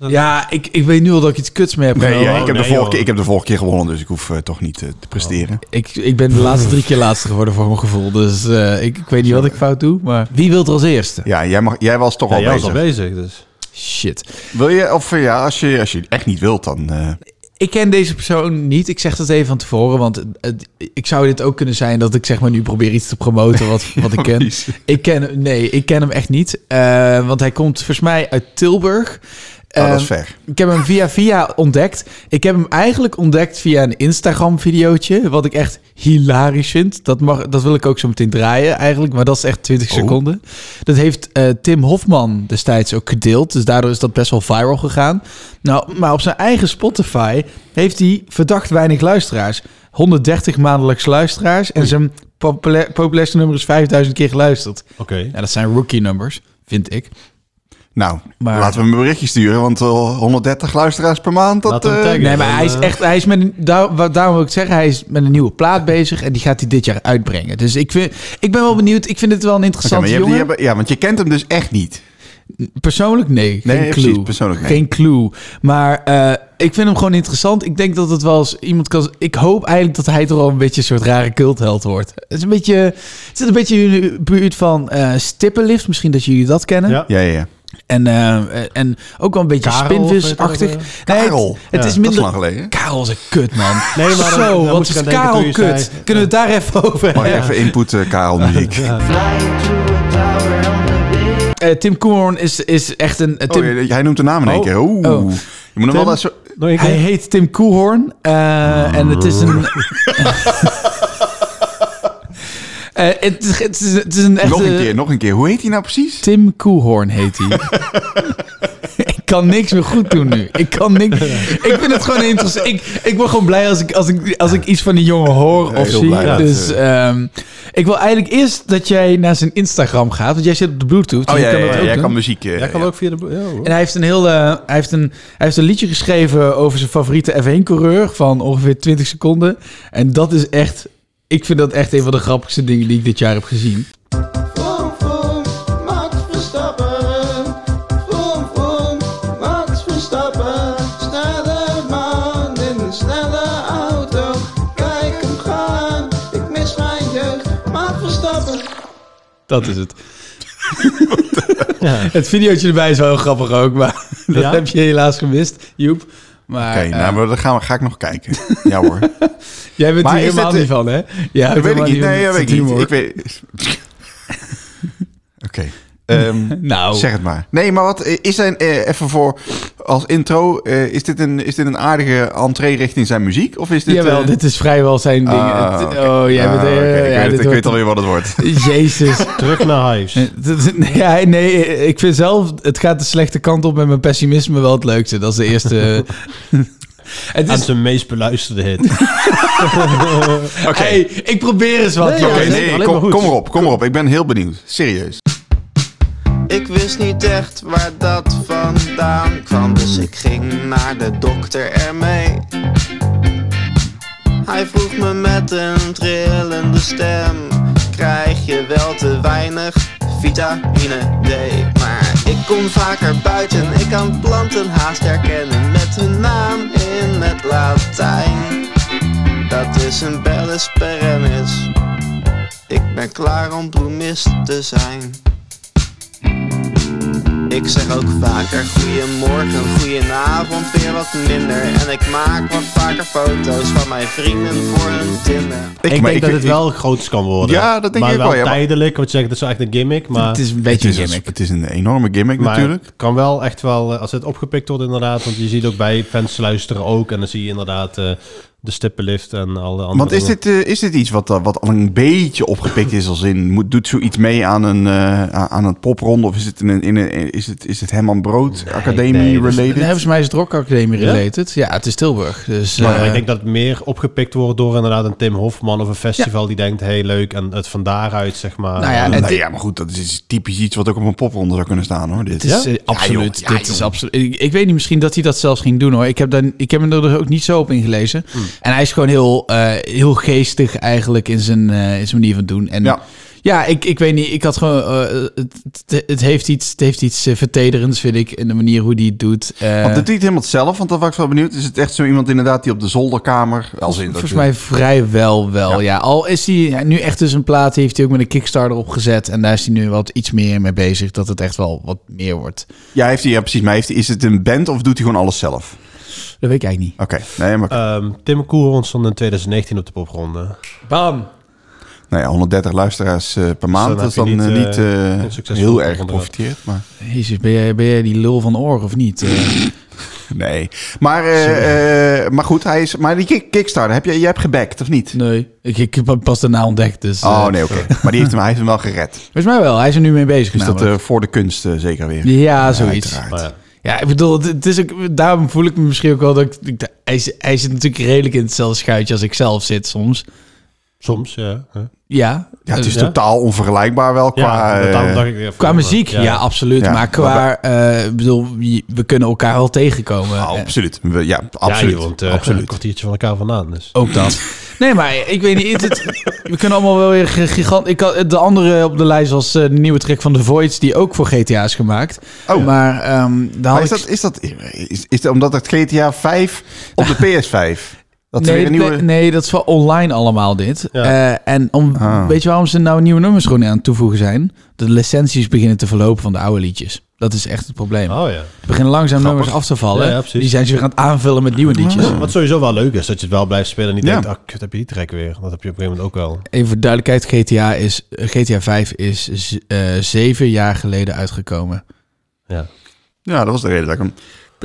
S3: Oh,
S2: Ja, ik, ik weet nu al dat ik iets kuts mee heb
S3: Nee,
S2: genomen.
S3: ja, ik, heb
S4: nee,
S3: de vorige,
S4: joh.
S3: keer- ik heb de vorige keer gewonnen, dus ik hoef eh, toch niet eh, te presteren.
S2: Ik, ik ben de laatste drie keer laatste geworden voor mijn gevoel. Dus eh, ik, ik weet niet wat ik fout doe. Maar wie wil er als eerste?
S3: Ja, jij, mag, jij was toch
S4: Ja,
S3: al
S4: jij was
S3: bezig.
S4: al bezig, dus.
S2: Shit.
S3: Wil je, of eh, ja, als je, als je echt niet wilt, dan... eh,
S2: Ik ken deze persoon niet. Ik zeg dat even van tevoren. Want het- het- ik zou dit ook kunnen zijn dat ik zeg maar nu probeer iets te promoten wat, wat ik ken.
S3: precies.
S2: Ik ken hem, nee, ik ken hem echt niet. Eh, want hij komt volgens mij uit Tilburg.
S3: Oh, dat is
S2: Ehm,
S3: ver.
S2: Ik heb hem via via ontdekt. Ik heb hem eigenlijk ontdekt via een Instagram-videootje. Wat ik echt hilarisch vind. Dat, mag, dat wil ik ook zo meteen draaien eigenlijk. Maar dat is echt 20 seconden. Dat heeft eh, Tim Hofman destijds ook gedeeld. Dus daardoor is dat best wel viral gegaan. Nou, maar op zijn eigen Spotify heeft hij verdacht weinig luisteraars. 130 maandelijks luisteraars. En zijn populair- populairste nummer is 5000 keer geluisterd.
S4: Oké.
S2: Ja, dat zijn rookie-numbers, vind ik.
S3: Nou,
S2: Maar-
S3: laten we hem een berichtje sturen, want eh, 130 luisteraars per maand, dat...
S4: Laat hem
S3: eh,
S4: taggen.
S2: Nee, maar
S4: Dan,
S2: hij is
S4: eh,
S2: echt, hij is met een, daar, wa- daarom wil ik zeggen, hij is met een nieuwe plaat bezig en die gaat hij dit jaar uitbrengen. Dus ik, vind, ik ben wel benieuwd, ik vind het wel een
S3: Oké, maar
S2: interessante
S3: je hebt-
S2: jongen.
S3: je hebt- ja, want je kent hem dus echt niet.
S2: Persoonlijk nee, geen
S3: Nee,
S2: clue.
S3: precies, persoonlijk nee.
S2: Geen clue. Maar eh, ik vind hem gewoon interessant. Ik denk dat het wel eens iemand kan... Ik hoop eigenlijk dat hij toch wel een beetje een soort rare cultheld wordt. Het is een beetje... Het zit een beetje in de buurt van eh, Stippenlift. Misschien dat jullie dat kennen.
S4: Ja.
S3: Ja, ja, ja.
S2: En, eh, en ook wel een beetje
S4: Karel,
S2: spinvisachtig.
S4: of weet
S2: Nee, het-
S3: Karel.
S2: het
S4: Ja,
S2: is
S3: Dat is
S2: minder...
S3: lang geleden.
S2: Karel is een kut, man.
S4: Nee, maar dan- dan
S2: Zo,
S4: moet
S2: wat
S4: ik
S2: is
S4: aan denken
S2: Karel
S4: toen je
S2: kut?
S4: zei-
S2: Kunnen we het daar even over
S3: Mag
S2: hebben?
S3: je even inputen, Karel muziek?
S2: Eh, Tim Koorn is, is echt een... eh, Tim,
S3: Oh, je- hij noemt de naam in één
S2: Oh.
S3: keer. Oeh.
S2: Oh.
S3: Je moet hem wel dat zo...
S4: Nog een keer?
S2: Hij heet Tim Koehoorn eh, en het is
S4: Mm.
S2: een... Eh, het, is, het, is, het is een echte...
S3: Nog een keer, nog een keer. Hoe heet hij nou precies?
S2: eh, Tim Koehoorn heet hij. ik kan niks meer goed doen nu. Ik kan niks... Ik vind het gewoon interessant. Ik, ik word gewoon blij als ik, als ik, als ik iets van die jongen hoor of
S3: heel
S2: zie.
S3: blij dat,
S2: dus ehm, ik wil eigenlijk eerst dat jij naar zijn Instagram gaat. Want jij zit op de Bluetooth. dus
S3: Oh
S2: je
S3: ja,
S2: kan
S3: ja,
S2: dat
S3: ja,
S2: ook
S3: jij
S2: doen.
S3: kan muziek... eh,
S4: Jij kan
S3: ja.
S4: ook via de... Ja, hoor.
S2: En hij heeft, een heel, eh, hij, heeft een, hij heeft een liedje geschreven over zijn favoriete F1-coureur van ongeveer 20 seconden. En dat is echt, ik vind dat echt een van de grappigste dingen die ik dit jaar heb gezien. Dat is het. Het videootje erbij is wel heel grappig ook, maar dat
S4: Ja?
S2: heb je helaas gemist, Joep. Maar
S3: Oké,
S2: eh,
S3: nou, maar dan gaan we, ga ik nog kijken. Ja hoor.
S2: jij bent
S3: maar
S2: er
S3: is
S2: helemaal
S3: dit-
S2: niet van, hè? Ja,
S3: dat weet ik niet. Nee, dat weet ik niet. Ik weet... Oké. Ehm,
S2: Nou,
S3: Zeg het maar. Nee, maar wat eh, is zijn, eh, even voor als intro, eh, is, dit een, is dit een aardige entree richting zijn muziek? Of is dit...
S2: jawel,
S3: eh,
S2: dit is vrijwel zijn ding.
S3: ah,
S2: Het-
S3: oké.
S2: Oh, jij
S3: Ah,
S2: bent... eh,
S3: oké, ik
S2: ja, dit
S3: weet, het, ik
S2: wordt-
S3: weet alweer wat het wordt.
S2: Jezus.
S4: Terug naar huis.
S2: Dat- Ja, nee, ik vind zelf, het gaat de slechte kant op met mijn pessimisme wel het leukste. Dat is de eerste. het
S4: Aan
S2: is.
S4: zijn meest beluisterde hit.
S2: Oké, ik probeer eens wat.
S4: Nee,
S3: Oké,
S2: jongens.
S4: zeker.
S3: nee,
S4: Alleen maar
S3: kom,
S4: goed.
S3: kom erop, kom erop. Ik ben heel benieuwd. Serieus.
S8: Ik wist niet echt waar dat vandaan kwam, dus ik ging naar de dokter ermee. Hij vroeg me met een trillende stem: Krijg je wel te weinig vitamine D? Maar ik kom vaker buiten, ik kan planten haast herkennen met hun naam in het Latijn. Dat is een bellus perennis. Ik ben klaar om bloemist te zijn. Ik zeg ook vaker goeiemorgen, goeienavond, weer wat minder. En ik maak wat vaker foto's van mijn vrienden voor hun Tinder.
S4: Ik,
S3: maar
S4: denk dat het
S3: ik-
S4: wel groots kan worden.
S3: Ja, dat denk
S4: maar
S3: ik
S4: wel
S3: wel, ja, maar-
S4: tijdelijk, want je zegt, dat is wel echt een gimmick. Maar,
S2: Het is een
S3: Het
S2: beetje
S3: is,
S2: een
S3: een,
S2: gimmick.
S3: het is een enorme gimmick
S4: maar
S3: natuurlijk.
S4: het kan wel echt wel, eh, als het opgepikt wordt inderdaad. Want je ziet ook bij fans luisteren ook. En dan zie je inderdaad eh, de stippenlift en alle andere
S3: Want is
S4: dingen.
S3: dit, eh, is dit iets wat, eh, wat al een beetje opgepikt is als in... Moet, doet zoiets mee aan een, eh, aan aan een popronde? Of is het, in een, in een, is het, is het Herman Brood Academie
S4: nee, dat is-
S3: related?
S2: Nee, volgens mij is het Rock Academy
S4: Ja?
S2: related. Ja, het is Tilburg. Dus,
S4: Maar
S2: eh,
S4: ik denk dat het meer opgepikt wordt door inderdaad een Tim Hofman of een festival die denkt, hey leuk, en het van daaruit zeg maar.
S2: Nou ja,
S4: eh,
S2: het-
S3: nou ja, maar goed, dat is typisch iets wat ook op een popronde zou kunnen staan hoor. Dit.
S2: Het is eh, absoluut. dit is absoluut. Ik, ik weet niet, misschien dat hij dat zelfs ging doen hoor. Ik heb, dan, ik heb hem er dus ook niet zo op ingelezen.
S4: Hmm.
S2: En hij is gewoon heel, eh, heel geestig eigenlijk in zijn, eh, in zijn manier van doen. En
S3: Ja.
S2: Ja, ik, ik weet niet. Ik had gewoon. eh, het, het- het heeft iets, het heeft iets eh, vertederends, vind ik, in de manier hoe die het doet. Eh,
S3: Want het is niet helemaal hetzelfde, want dat was ik wel benieuwd. Is het echt zo iemand inderdaad die op de zolderkamer... Als in, dat
S2: volgens
S3: je-
S2: mij vrijwel wel. Ja. al is hij ja, nu echt dus een plaat, die heeft hij ook met een Kickstarter opgezet. En daar is hij nu wat iets meer mee bezig. Dat het echt wel wat meer wordt.
S3: Ja, heeft hij, ja, precies. Maar heeft hij, is het een band of doet hij gewoon alles zelf?
S2: Dat weet ik eigenlijk niet.
S3: Oké, nee,
S2: Eh.
S3: maar
S4: Ehm, Tim Koerhond stond in 2019 op de popronde.
S2: Bam!
S3: nou ja, 130 luisteraars eh, per maand.
S4: dan
S3: dat is
S4: heb
S3: dan
S4: je
S3: eh,
S4: niet,
S3: niet
S4: eh,
S3: eh,
S4: een succesvol
S3: heel
S4: programma
S3: erg
S4: inderdaad.
S3: geprofiteerd. Maar...
S2: Jezus, ben jij, ben jij die lul van oor of niet? Eh,
S3: Nee. Maar, eh, eh, maar goed, hij is, maar die kick- Kickstarter, heb je, jij hebt gebackt of niet?
S2: nee, ik, ik heb hem pas daarna ontdekt. Dus, eh,
S3: Oh nee, oké. Maar die heeft hem, hij heeft hem wel gered.
S2: Volgens mij wel, hij is er nu mee bezig.
S3: Dus dat
S2: namelijk.
S3: eh, voor de kunst eh, zeker weer.
S2: ja, zoiets.
S3: Uiteraard.
S4: Maar Nou ja,
S2: Ja, ik bedoel, het, het is ook, daarom voel ik me misschien ook wel dat ik- ik... Hij, zit- hij zit natuurlijk redelijk in hetzelfde schuitje als ik zelf zit soms.
S4: soms, ja. hè.
S2: Ja,
S3: Ja, het
S2: eh,
S3: is
S4: Ja?
S3: totaal onvergelijkbaar wel qua...
S4: ja,
S3: eh,
S4: daarom dacht ik weer even
S2: qua
S4: over.
S2: muziek, ja, absoluut.
S3: Ja,
S2: maar qua, eh, ik bedoel, je- we kunnen elkaar wel tegenkomen.
S3: oh,
S2: Eh,
S3: absoluut. We- Ja,
S4: Ja,
S3: absoluut.
S4: je woont eh,
S3: absoluut.
S4: een kwartiertje van elkaar vandaan. Dus.
S2: Ook dat. Nee, maar ik weet niet. het- het- we kunnen allemaal wel weer gi- gigant. Ik had, de andere op de lijst was eh, de nieuwe track van The Voids, die ook voor GTA is gemaakt.
S3: Oh.
S2: Maar ehm daar
S3: Maar
S2: had
S3: is
S2: ik-
S3: dat, is dat is, is dat omdat het GTA 5 op de PS5? Dat is
S2: nee,
S3: weer een nieuwe...
S2: nee, nee, dat is wel online allemaal dit.
S4: Ja.
S2: Eh, en om,
S3: Ah.
S2: weet je waarom ze nou nieuwe nummers gewoon aan het toevoegen zijn? De licenties beginnen te verlopen van de oude liedjes. Dat is echt het probleem.
S4: Oh ja.
S2: Er beginnen langzaam nummers af te vallen.
S4: Ja, ja, precies.
S2: die zijn ze weer aan het aanvullen met
S3: Ah.
S2: nieuwe liedjes.
S4: Wat sowieso wel leuk is, dat je het wel blijft spelen en niet
S3: Ja.
S4: denkt, ah, kut, heb je die track weer. Dat heb je op een gegeven moment ook wel.
S2: Even voor duidelijkheid, GTA, is, eh, GTA 5 is z- eh, zeven jaar geleden uitgekomen.
S4: Ja.
S3: Ja, dat was de reden dat ik hem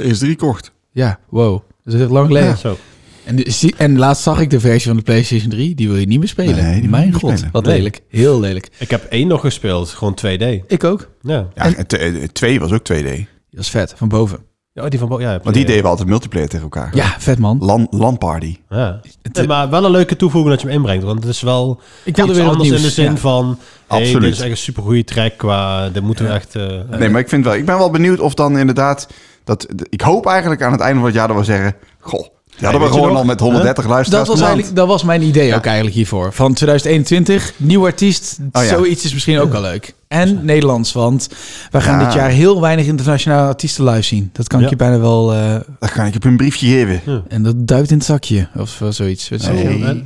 S3: PS3 kocht.
S2: Ja, wow. Dat is echt lang geleden.
S4: Zo.
S2: En, de- zie- en laatst zag ik de versie van de PlayStation 3. Die wil je niet meer spelen.
S3: Nee, die wil je
S2: Mijn
S3: niet
S2: god,
S3: spelen.
S2: wat
S4: Nee.
S2: lelijk. Heel lelijk.
S4: Ik heb één nog gespeeld, gewoon 2D.
S2: Ik ook.
S4: Ja.
S3: Ja, en te- eh, twee was ook 2D.
S2: Dat is vet, van boven.
S4: Oh, die van Bo- ja, heb je-
S3: Want die deden we altijd multiplayer tegen elkaar.
S2: Ja, vet man.
S3: LAN, LAN party.
S4: Ja.
S3: eh,
S4: Nee, maar wel een leuke toevoeging dat je hem inbrengt. Want het is wel
S2: Ik wilde
S4: iets
S2: weer wat
S4: anders
S2: nieuws.
S4: in de zin
S2: Ja.
S4: van... Hey, dit
S3: Absoluut.
S4: is echt een supergoeie track qua... Dit moeten we echt... eh,
S3: Nee, maar ik vind wel. Ik ben wel benieuwd of dan inderdaad dat. Ik hoop eigenlijk aan het einde van het jaar dat we zeggen, goh, die hadden we
S4: weet je
S3: gewoon
S4: nog?
S3: al met 130
S2: Dat
S3: luisteraars.
S2: was,
S3: beland.
S2: eigenlijk, dat was mijn idee ook eigenlijk hiervoor. Van 2021, nieuw artiest.
S3: Oh ja.
S2: Zoiets is misschien ook wel leuk. En Nederlands, want we gaan
S3: Ja.
S2: dit jaar heel weinig internationale artiesten live zien. Dat kan
S4: Ja.
S2: ik je bijna wel... eh,
S3: Dan ga ik heb een briefje geven.
S2: en dat duikt in het zakje, of eh, zoiets. Weet je wel?
S3: Nee.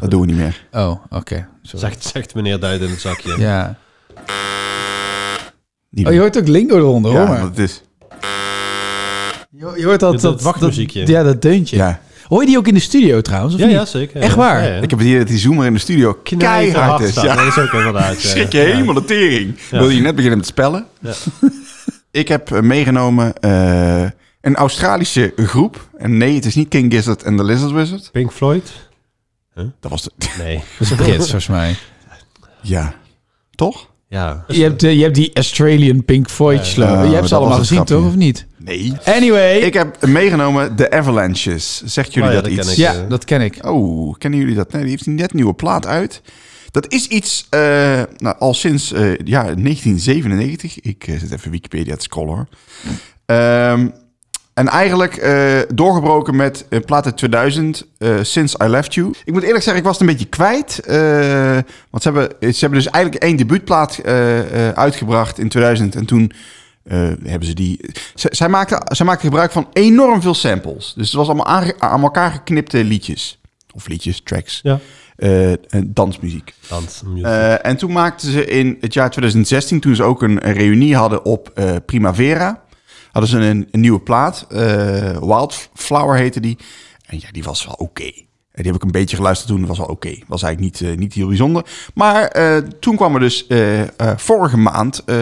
S3: Dat doen we niet meer.
S2: Oh, oké. Sorry.
S4: Zegt, zegt meneer Duid in het zakje.
S2: Ja.
S3: Niet
S2: Oh, je hoort ook lingo eronder,
S3: ja,
S2: hoor maar.
S3: dat is.
S2: Je, je hoort dat,
S4: Dat- dat wachtmuziekje.
S2: ja, dat deuntje.
S3: Ja.
S2: Hoor je die ook in de studio trouwens? Of
S4: Ja,
S2: niet?
S4: ja, zeker.
S2: Echt
S4: Ja.
S2: waar?
S4: Ja, ja.
S3: Ik heb het hier dat die zoomer in de studio keihard
S4: Knijterhard
S3: is.
S4: staat.
S3: Ja.
S4: Dat is ook inderdaad... eh,
S3: Schrik je
S4: ja.
S3: helemaal de tering. Wil je net beginnen met spellen? ik heb eh, meegenomen eh, een Australische groep. En nee, het is niet King Gizzard en The Lizard Wizard.
S4: Pink Floyd?
S3: Dat was de...
S4: Nee.
S2: Dat is Brits, volgens mij.
S3: Ja. Toch?
S4: Ja.
S2: Je hebt, eh, je hebt die Australian Pink Floyd slogan.
S3: Ja,
S2: je
S3: maar
S2: hebt
S3: dat
S2: ze
S3: was
S2: allemaal
S3: het
S2: gezien,
S3: grapje.
S2: toch? Of niet?
S3: Nee.
S2: Anyway.
S3: Ik heb meegenomen de Avalanches. Zegt jullie
S4: Oh ja,
S3: dat,
S4: dat ken
S3: iets?
S4: ik.
S2: ja, dat ken ik.
S3: Oh, kennen jullie dat? Nee, die heeft net een nieuwe plaat uit. Dat is iets eh, nou, al sinds eh, ja, 1997. Ik eh, zit even Wikipedia te scrollen hoor. Ehm, en eigenlijk eh, doorgebroken met een plaat uit 2000, eh, Since I Left You. Ik moet eerlijk zeggen, ik was het een beetje kwijt. eh, want ze hebben, ze hebben dus eigenlijk één debuutplaat eh, eh, uitgebracht in 2000. En toen eh, hebben ze die... Z- zij, maakten, zij maakten gebruik van enorm veel samples. Dus het was allemaal aange- aan elkaar geknipte liedjes. Of liedjes, tracks.
S4: Ja. mm,
S3: Eh, en dansmuziek.
S4: Dans. music.
S3: Eh, en toen maakten ze in het jaar 2016, toen ze ook een, een reunie hadden op eh, Primavera, hadden ze een, een nieuwe plaat. eh, Wildflower heette die. En ja, die was wel oké. En Die heb ik een beetje geluisterd toen, dat was wel oké. Was eigenlijk niet, eh, niet heel bijzonder. Maar eh, toen kwam er dus eh, eh, vorige maand eh,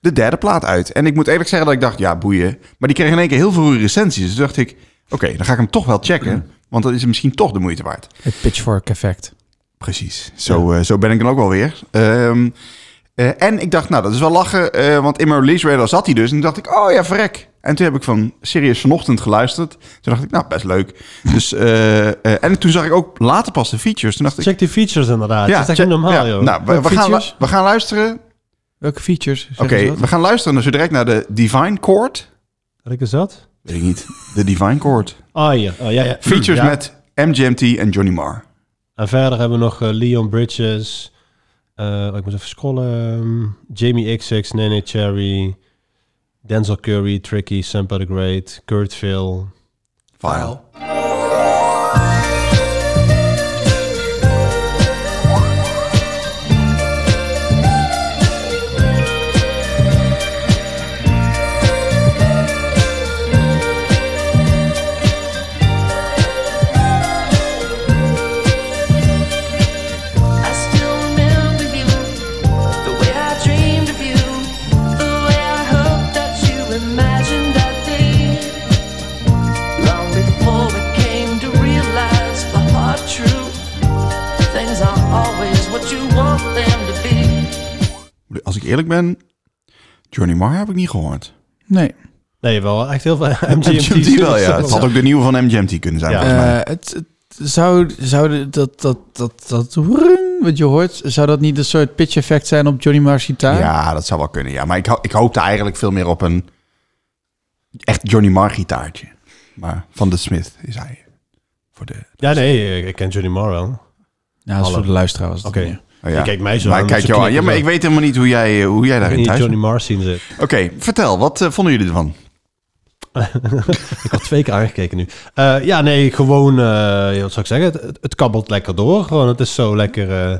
S3: de derde plaat uit. En ik moet eerlijk zeggen dat ik dacht, ja, boeien. Maar die kreeg in één keer heel veel recensies. Dus toen dacht ik, oké, dan ga ik hem toch wel checken. Want dat is misschien toch de moeite waard.
S2: Het pitchfork effect.
S3: Precies. Zo, eh, zo ben ik dan ook wel weer. Ehm, eh, en ik dacht, nou, dat is wel lachen, eh, want in mijn release radar zat hij dus. En toen dacht ik, oh ja, verrek. En toen heb ik van serieus vanochtend geluisterd. Toen dacht ik, nou, best leuk. Dus, eh, eh, en toen zag ik ook later pas de features. Toen dacht ik,
S4: Check die features inderdaad. dat is
S3: check-
S4: echt niet normaal,
S3: ja.
S4: joh.
S3: Nou, we,
S2: Welke
S3: we gaan, lu-
S2: features?
S3: we gaan luisteren.
S2: Welke features?
S3: Oké, we gaan luisteren dus direct naar de Divine Chord.
S4: Wat ik is dat?
S3: Weet ik niet. De Divine Chord.
S4: Oh ja. Oh, ja, ja.
S3: Features
S4: Ja.
S3: met MGMT en Johnny Marr.
S4: En verder hebben we nog eh, Leon Bridges. Eh, oh, ik moet even scrollen. Ehm, Jamie XX, Nene Cherry. Denzel Curry, Tricky, Sampa the Great, Kurt Phil.
S3: File.
S9: I still remember you, the way I dreamed of you, the way I hoped that you imagined that day. Long before we came to realize the hard truth, things are always what you want them to be.
S3: Als ik eerlijk ben, Journey Mar heb ik niet gehoord.
S2: Nee.
S4: Nee, wel echt heel veel
S3: MGMT
S4: MGMT.
S3: wel, ja. Het had ook de nieuwe van MGMT kunnen zijn,
S4: Ja.
S3: volgens mij.
S2: Eh, het, het zou, zou de- dat, dat, dat, dat roem wat je hoort, zou dat niet een soort pitch effect zijn op Johnny Marr's gitaar?
S3: Ja, dat zou wel kunnen, ja. Maar ik, ho- ik hoopte eigenlijk veel meer op een echt Johnny Marr gitaartje. Maar van de Smith is hij. Voor de...
S4: Ja, nee, ik- ik ken Johnny Marr wel.
S2: Ja, dat is voor de luisteraar was het.
S4: Oké.
S2: meer.
S3: Oh, ja.
S4: Je kijkt mij zo
S3: Maar
S4: aan,
S3: ik kijk
S4: zo
S3: jou aan. Ja,
S4: knikken
S3: maar
S4: zo.
S3: ik weet helemaal niet hoe jij, eh, hoe jij
S4: In
S3: daarin
S4: die
S3: thuis
S4: Johnny
S3: bent.
S4: Marr scene zit.
S3: Oké, vertel. Wat eh, vonden jullie ervan?
S4: Ik had twee keer aangekeken nu. Eh, ja, nee, gewoon, eh, wat zou ik zeggen? Het- Het, het kabbelt lekker door. Gewoon, het is zo lekker. eh,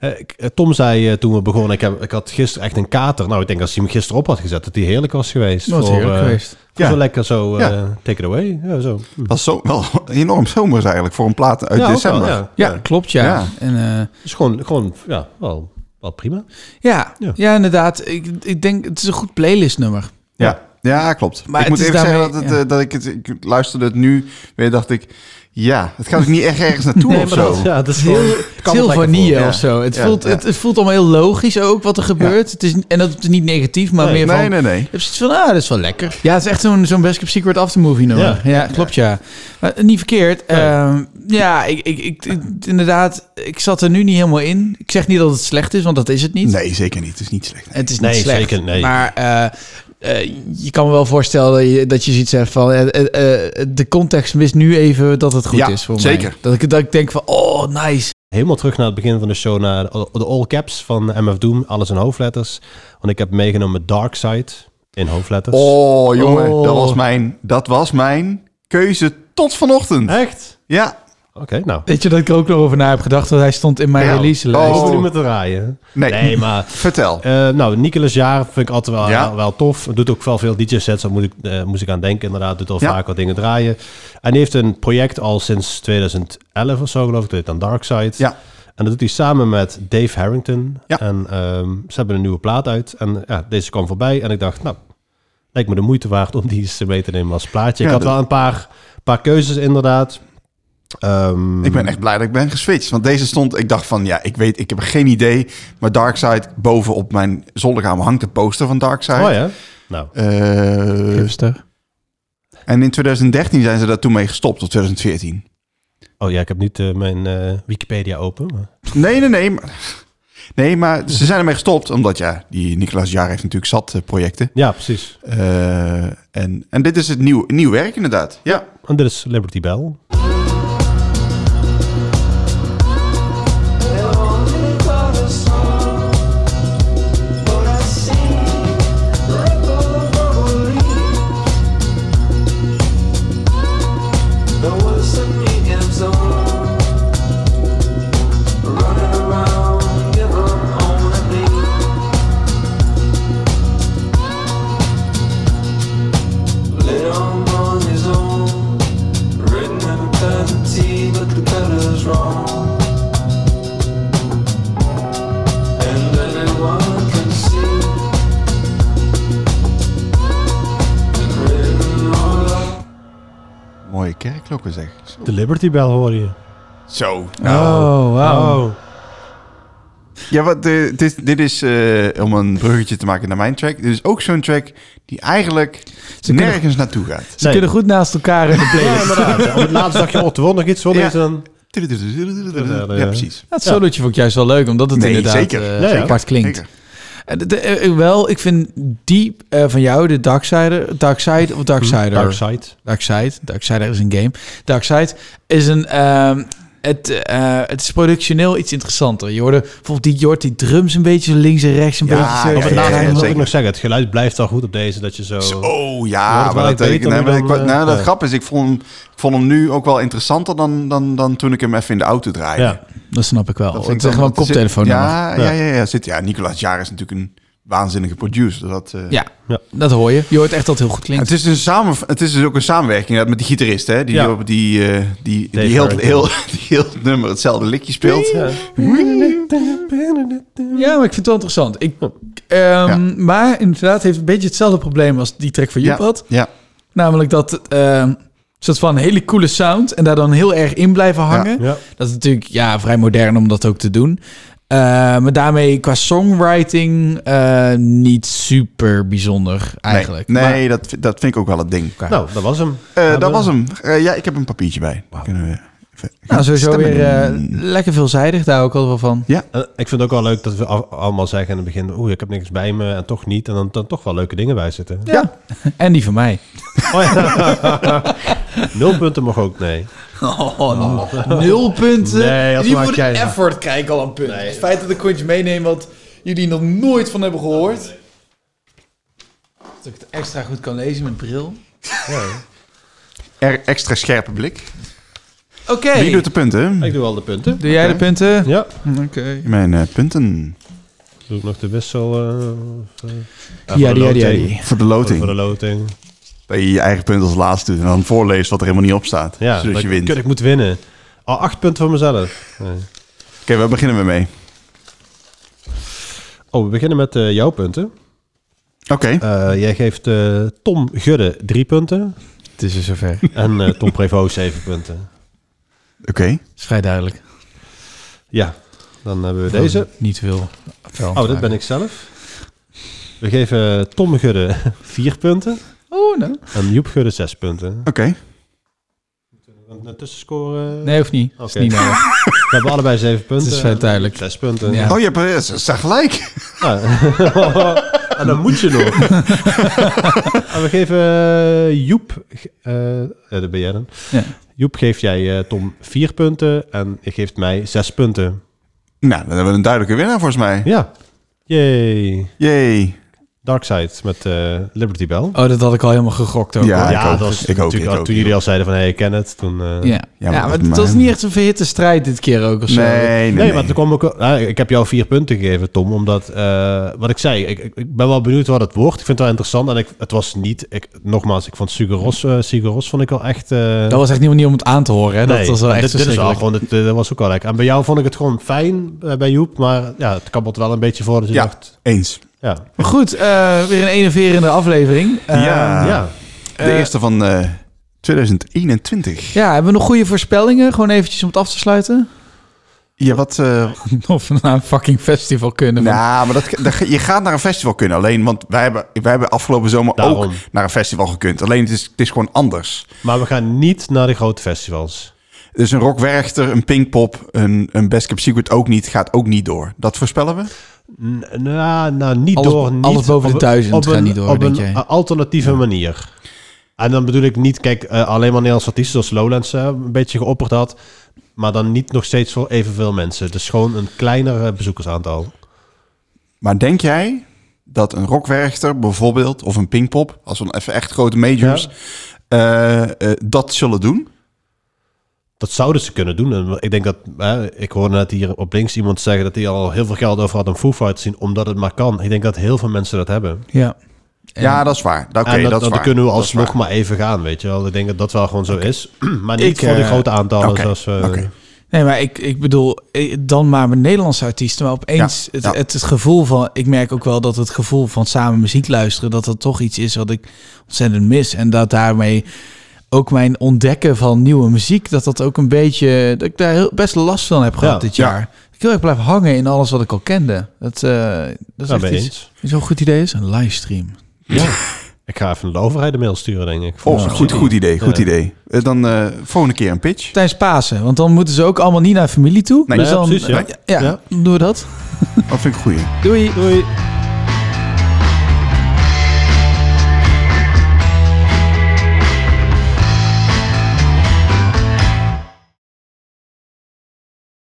S4: eh, ik- eh, Tom zei eh, toen we begonnen, ik, heb, ik had gisteren echt een kater. Nou, ik denk als hij hem gisteren op had gezet, dat hij heerlijk was geweest.
S2: Wat heerlijk
S4: eh,
S2: geweest.
S4: Voor
S3: Ja.
S4: zo lekker zo, eh,
S3: Ja.
S4: take it away. Ja, zo. Hm.
S3: Dat is zo, wel enorm zomers eigenlijk voor een plaat uit
S4: Ja, ook
S3: december.
S4: wel, ja.
S2: Ja, klopt, ja.
S3: Ja.
S2: En, eh,
S4: Dus gewoon, gewoon ja, wel, wel prima.
S2: ja.
S4: Ja.
S2: Ja. inderdaad. Ik, ik denk, het is een goed playlistnummer.
S3: Ja, ja klopt.
S2: Maar
S3: ik
S2: het
S3: moet
S2: is
S3: even
S2: daarmee-
S3: zeggen dat, het,
S2: ja.
S3: eh, dat ik het... Ik luisterde het nu weer, dacht ik... Ja, het gaat ook niet echt ergens naartoe
S4: Nee,
S3: of
S4: maar
S3: zo.
S4: dat, ja, dat
S2: Het
S4: is
S2: is
S4: gewoon-
S2: heel,
S4: het
S2: het is heel
S4: kabbelt lekker
S2: vanille
S3: voor.
S2: of zo. Het,
S3: Ja,
S2: voelt,
S3: ja.
S2: Het, het voelt allemaal heel logisch ook wat er gebeurt. Het is, en dat is niet negatief, maar
S4: Nee,
S2: meer van...
S3: Nee, nee, nee.
S2: Ik heb zoiets van, ah, dat is wel lekker. Ja, het is echt zo'n zo'n Best Kept Secret Aftermovie nummer. Ja, klopt, ja. Maar eh, niet verkeerd. Ehm, ja, ik, ik, ik, ik- inderdaad, ik zat er nu niet helemaal in. Ik zeg niet dat het slecht is, want dat is het niet.
S3: Nee, zeker niet. Het is niet slecht.
S2: Het is niet
S4: Nee,
S2: slecht.
S4: zeker, nee.
S2: Maar eh, eh, je kan me wel voorstellen dat je, dat je zoiets hebt van... eh, eh, eh, de context mist nu even dat het goed
S3: Ja,
S2: is voor
S3: zeker.
S2: mij. Dat ik, dat ik denk van, oh, nice.
S4: Helemaal terug naar het begin van de show, naar de, de all caps van MF Doom. Alles in hoofdletters. Want ik heb meegenomen Dark Side in hoofdletters.
S3: Oh, jongen.
S2: Oh.
S3: Dat, was mijn, dat was mijn keuze tot vanochtend.
S4: Echt?
S3: Ja.
S4: Oké, nou.
S2: Weet je dat ik er ook nog over na heb gedacht? Want hij stond in mijn
S3: Ja.
S2: release-lijst.
S3: Oh.
S4: Hoef niet meer te draaien.
S3: Nee.
S4: maar...
S3: Vertel.
S4: eh, nou, Nicolas Jaar vind ik altijd wel,
S3: Ja.
S4: wel, tof. Doet ook wel veel DJ-sets, daar moet ik, eh, moest ik aan denken inderdaad. Doet al
S3: Ja.
S4: vaak wat dingen draaien. En die heeft een project al sinds 2011 of zo, geloof ik. Dat heet dan Darkside.
S3: Ja.
S4: En dat doet hij samen met Dave Harrington.
S3: Ja.
S4: En ehm, ze hebben een nieuwe plaat uit. En ja, deze kwam voorbij. En ik dacht, nou, lijkt me de moeite waard om die eens mee te nemen als plaatje.
S3: Ja,
S4: ik had
S3: dat-
S4: wel een paar, paar keuzes inderdaad. Ehm,
S3: Ik ben echt blij dat ik ben geswitcht. Want deze stond, ik dacht van, ja, ik weet, ik heb geen idee. Maar Darkside, boven op mijn zolderkamer hangt de poster van Darkside.
S4: Oh ja? Nou,
S3: Eh,
S2: Hipster.
S3: en in 2013 zijn ze daar toen mee gestopt, tot 2014.
S4: oh ja, ik heb niet eh, mijn eh, Wikipedia open. maar-
S3: Nee, nee, nee. Maar, nee, maar ze zijn ermee gestopt. Omdat, ja, die Nicolas Jaar heeft natuurlijk zat eh, projecten.
S4: Ja, precies.
S3: Eh, en, en dit is het nieuw, nieuw werk inderdaad. Ja.
S4: En dit is Liberty Bell.
S9: on his own, written in eternity, but the color's wrong. And everyone can see. And written all over
S3: Mooie kerkklokken zeg. Zo.
S4: De Liberty Bell hoor je.
S3: Zo.
S2: Oh, wauw.
S4: Oh.
S3: Ja, wat, eh, dit, dit is, eh, om een bruggetje te maken naar mijn track. Dit is ook zo'n track die eigenlijk nergens naartoe gaat.
S2: Ze kunnen goed naast elkaar in de
S4: Ja,
S2: playlist.
S4: inderdaad. Op het laatste dagje op de won nog iets. Won
S3: Ja.
S4: iets dan...
S3: Ja, precies.
S2: Dat solootje vond ik juist wel leuk, omdat het
S3: Nee,
S2: inderdaad
S3: zeker.
S2: eh,
S3: Ja,
S4: ja.
S2: apart klinkt.
S3: Zeker.
S2: Eh, de- de- eh, wel, ik vind die eh, van jou, de Darksider, Darkside of Darksider?
S4: Mhm. Dark Side.
S2: Darkside. Darksider is een game. Darkside is een... ehm, het, eh, het is productioneel iets interessanter. Je hoorde bijvoorbeeld die, je hoort die drums een beetje zo links en rechts. Een
S3: Ja,
S2: beetje zo-
S3: ja,
S4: Op het
S3: ja,
S4: laatste
S3: ja,
S4: moet ik
S3: zeker.
S4: nog zeggen, het geluid blijft al goed op deze, dat je zo...
S3: Oh
S4: Ja,
S3: ja,
S4: dat
S3: maar
S4: wel
S3: dat
S4: beter
S3: betekent. Nee, maar
S4: dan,
S3: ik, wou-
S4: eh,
S3: nou, de
S4: ja.
S3: grap is, ik vond, hem- ik vond hem nu ook wel interessanter dan, dan, dan toen ik hem even in de auto draaide.
S4: Ja.
S2: Dat snap ik wel.
S3: Dat
S2: Dat
S3: vind
S2: het
S3: ik
S2: is
S3: dan-
S2: gewoon
S3: dat zit-
S2: koptelefoon.
S3: Ja, ja,
S4: Ja.
S3: ja, ja, zit. Ja, Nicolaas Jaar is natuurlijk een waanzinnige producer. Dat, eh,
S2: Ja,
S4: Ja.
S2: dat hoor je. Je hoort echt dat het heel goed
S3: Het
S2: klinkt.
S3: is, een samen, het is dus ook een samenwerking inderdaad, met die gitarist, hè? Die,
S4: Ja.
S3: op- die, eh, die, die,
S4: Dave
S3: heel,
S4: Harrington.
S3: heel, die heel het nummer hetzelfde likje speelt.
S4: Ja.
S2: Ja, maar ik vind het wel interessant. Ik, ehm,
S3: Ja.
S2: Maar inderdaad heeft een beetje hetzelfde probleem als die track van Joep had.
S3: ja.
S2: Namelijk dat het, ehm, een soort van hele coole sound en daar dan heel erg in blijven hangen.
S4: Ja.
S2: Dat is natuurlijk ja, vrij modern om dat ook te doen. Eh, maar daarmee qua songwriting eh, niet super bijzonder eigenlijk.
S3: Nee,
S2: Maar-
S3: nee dat, vind- dat vind ik ook wel het ding. Eh,
S4: Nou, dat was hem.
S3: dat was hem. Eh, ja, ik heb een papiertje bij. Kunnen we even
S2: nou,
S3: gaan
S2: sowieso
S3: stemmen?
S2: weer eh, lekker veelzijdig. Daar ook al wel van.
S4: Eh, Ik vind het ook wel leuk dat we al- allemaal zeggen in het begin... oeh, ik heb niks bij me en toch niet. En dan, dan toch wel leuke dingen bij zitten.
S2: Ja. En die van mij.
S4: Oh, ja. Nul punten mag ook, nee.
S2: Oh, Nul punten.
S4: Nee, dat
S2: Die
S4: maak
S2: voor de
S4: jij nou.
S2: effort krijg ik al een punt. Het feit dat ik kontje meeneem wat jullie nog nooit van hebben gehoord. Dat ik het extra goed kan lezen met bril.
S3: Er, extra scherpe blik.
S2: Oké.
S3: Wie doet de punten?
S4: Ik doe al de punten.
S2: Doe jij de punten?
S4: Ja.
S2: Oké.
S3: Mijn eh, punten.
S4: Doe ik nog de wissel. eh, eh,
S2: Ja,
S4: voor de
S2: die, ja, die, ja,
S4: loting.
S2: die.
S3: Voor de
S4: Voor de
S3: loting.
S4: loting.
S3: Dat je je eigen punt als laatste doet en dan voorleest wat er helemaal niet op staat.
S4: Ja,
S3: zodat
S4: dat
S3: je
S4: ik-
S3: wint.
S4: kut,
S3: Oké,
S4: ik moet winnen. Al acht punten voor mezelf. Nee.
S3: waar beginnen we mee?
S4: Oh, we beginnen met eh, jouw punten.
S3: Oké.
S4: Eh, jij geeft eh, Tom Gudde drie punten.
S2: Het is er zover.
S4: En eh, Tom Prevost zeven punten.
S3: Oké.
S2: is vrij duidelijk.
S4: Ja, dan hebben we deze.
S2: Niet veel. veel
S4: Oh, dit ben ik zelf. We geven eh, Tom Gudde vier punten.
S2: Oh, nou.
S4: En Joep Gudde zes punten.
S3: Oké.
S4: Een tussenscore... eh,
S2: Nee, of niet. Dat is
S4: Oké.
S2: niet nodig.
S4: We hebben allebei zeven punten.
S2: Het is vrij duidelijk.
S4: Zes punten.
S2: Ja.
S3: Oh, je hebt eh, ze staan gelijk.
S4: Ja. en dan moet je nog. en we geven eh, Joep... eh eh, dat ben jij dan.
S2: Ja.
S4: Joep geeft jij eh, Tom vier punten en je geeft mij zes punten.
S3: Nou, dan hebben we een duidelijke winnaar volgens mij.
S4: Ja. Yay.
S3: Jee.
S4: Darkside met eh, Liberty Bell.
S2: Oh, dat had ik al helemaal gegokt ook.
S3: Ja,
S2: hoor.
S3: ik ook.
S4: dat was
S3: Ik ook,
S4: natuurlijk
S3: ik
S4: al-
S3: ook,
S4: toen
S3: ik
S4: jullie al zeiden van, hé, hey, ik ken het. Toen, eh,
S2: Ja. Ja,
S3: maar
S2: maar
S3: dat
S2: het
S3: is
S2: was
S3: mijn-
S2: niet echt een verhitte strijd dit keer ook of zo.
S3: Nee, nee,
S4: Nee,
S3: nee.
S4: maar toen kwam ik, wel- nou, ik heb jou vier punten gegeven, Tom, omdat eh, wat ik zei, ik, ik- ik ben wel benieuwd wat het wordt. Ik vind het wel interessant en ik, het was niet, ik, nogmaals, ik vond Sigaros, eh Sigaros vond ik wel echt. eh,
S2: Dat was echt niet, niet om het aan te horen. Hè?
S4: nee,
S2: dat was wel
S4: dit-
S2: echt
S4: dit, is wel
S2: verschrikkelijk.
S4: gewoon, dit, eh, dat was ook wel lekker. En bij jou vond ik het gewoon fijn eh, bij Joep, maar ja, het kabbelt wel een beetje voor. Dus ik
S3: Ja.
S4: dacht,
S3: Eens.
S4: ja,
S2: Maar goed, eh, weer een enerverende aflevering. Eh,
S3: ja.
S4: ja,
S3: De
S2: eh,
S3: eerste van eh, 2021.
S2: Ja, hebben we nog goede voorspellingen? Gewoon eventjes om het af te sluiten.
S3: Ja, wat... eh,
S2: Of we naar een fucking festival kunnen. want-
S3: Nou, maar dat, dat- je gaat naar een festival kunnen. Alleen, want wij hebben, wij hebben afgelopen zomer
S4: Daarom.
S3: ook naar een festival gekund. Alleen, het is, het is gewoon anders.
S4: maar we gaan niet naar de grote festivals.
S3: Dus een Rock Werchter, een Pinkpop, een, een Best Kept Secret ook niet, gaat ook niet door. Dat voorspellen we?
S4: N- Nou, nou niet
S2: Alles-
S4: door. Niet,
S2: alles boven de
S4: op-
S2: 1000
S4: op
S2: gaat
S4: een-
S2: niet door,
S4: Op
S2: denk
S4: een
S2: jij?
S4: a- alternatieve manier. En dan bedoel ik niet, kijk, eh, alleen maar Nederlandse artiesten zoals Lowlands eh, een beetje geopperd had. Maar dan niet nog steeds voor evenveel mensen. Dus gewoon een kleiner eh, bezoekersaantal.
S3: Maar denk jij dat een Rock Werchter bijvoorbeeld, of een Pinkpop, als we dan even echt grote majors,
S4: Ja.
S3: eh, eh, dat zullen doen?
S4: Dat zouden ze kunnen doen. En ik denk dat, eh, ik hoorde net hier op links iemand zeggen dat hij al heel veel geld over had om Foo Fighters te zien, omdat het maar kan. Ik denk dat heel veel mensen dat hebben.
S2: Ja.
S3: ja, dat is waar. Oké,
S4: en dat,
S3: dat, is
S4: dat
S3: waar.
S4: kunnen we
S3: Dat is
S4: alsnog
S3: waar.
S4: maar even gaan, weet je wel. Ik denk dat dat wel gewoon zo is. Maar niet
S2: Ik,
S4: voor de
S2: eh,
S4: grote aantallen
S3: oké,
S4: zoals eh, we...
S3: oké.
S2: Nee, maar ik, ik bedoel, eh, dan maar met Nederlandse artiesten. Maar opeens
S3: Ja,
S2: het,
S3: ja.
S2: Het, het gevoel van... Ik merk ook wel dat het gevoel van samen muziek luisteren... dat dat toch iets is wat ik ontzettend mis. En dat daarmee ook mijn ontdekken van nieuwe muziek... dat dat ook een beetje... dat ik daar heel, best last van heb gehad
S4: Ja,
S2: dit
S3: ja.
S2: jaar. Ik heel erg blijf hangen in alles wat ik al kende. Dat, eh, dat is
S4: Daar
S2: echt
S4: ben je
S2: iets-
S4: eens.
S2: Is wel een goed idee is een livestream.
S4: Ja. ik ga even de overheid een mail sturen, denk ik.
S3: Oh, goed, goed idee, goed
S4: Ja.
S3: idee. Eh, Dan eh, volgende keer een pitch.
S2: Tijdens Pasen, want dan moeten ze ook allemaal niet naar familie toe.
S3: Nee,
S2: dus
S4: ja,
S2: dan,
S4: precies, ja.
S2: ja,
S4: Ja.
S2: doen we dat.
S3: Dat vind ik goed.
S2: Doei.
S4: Doei.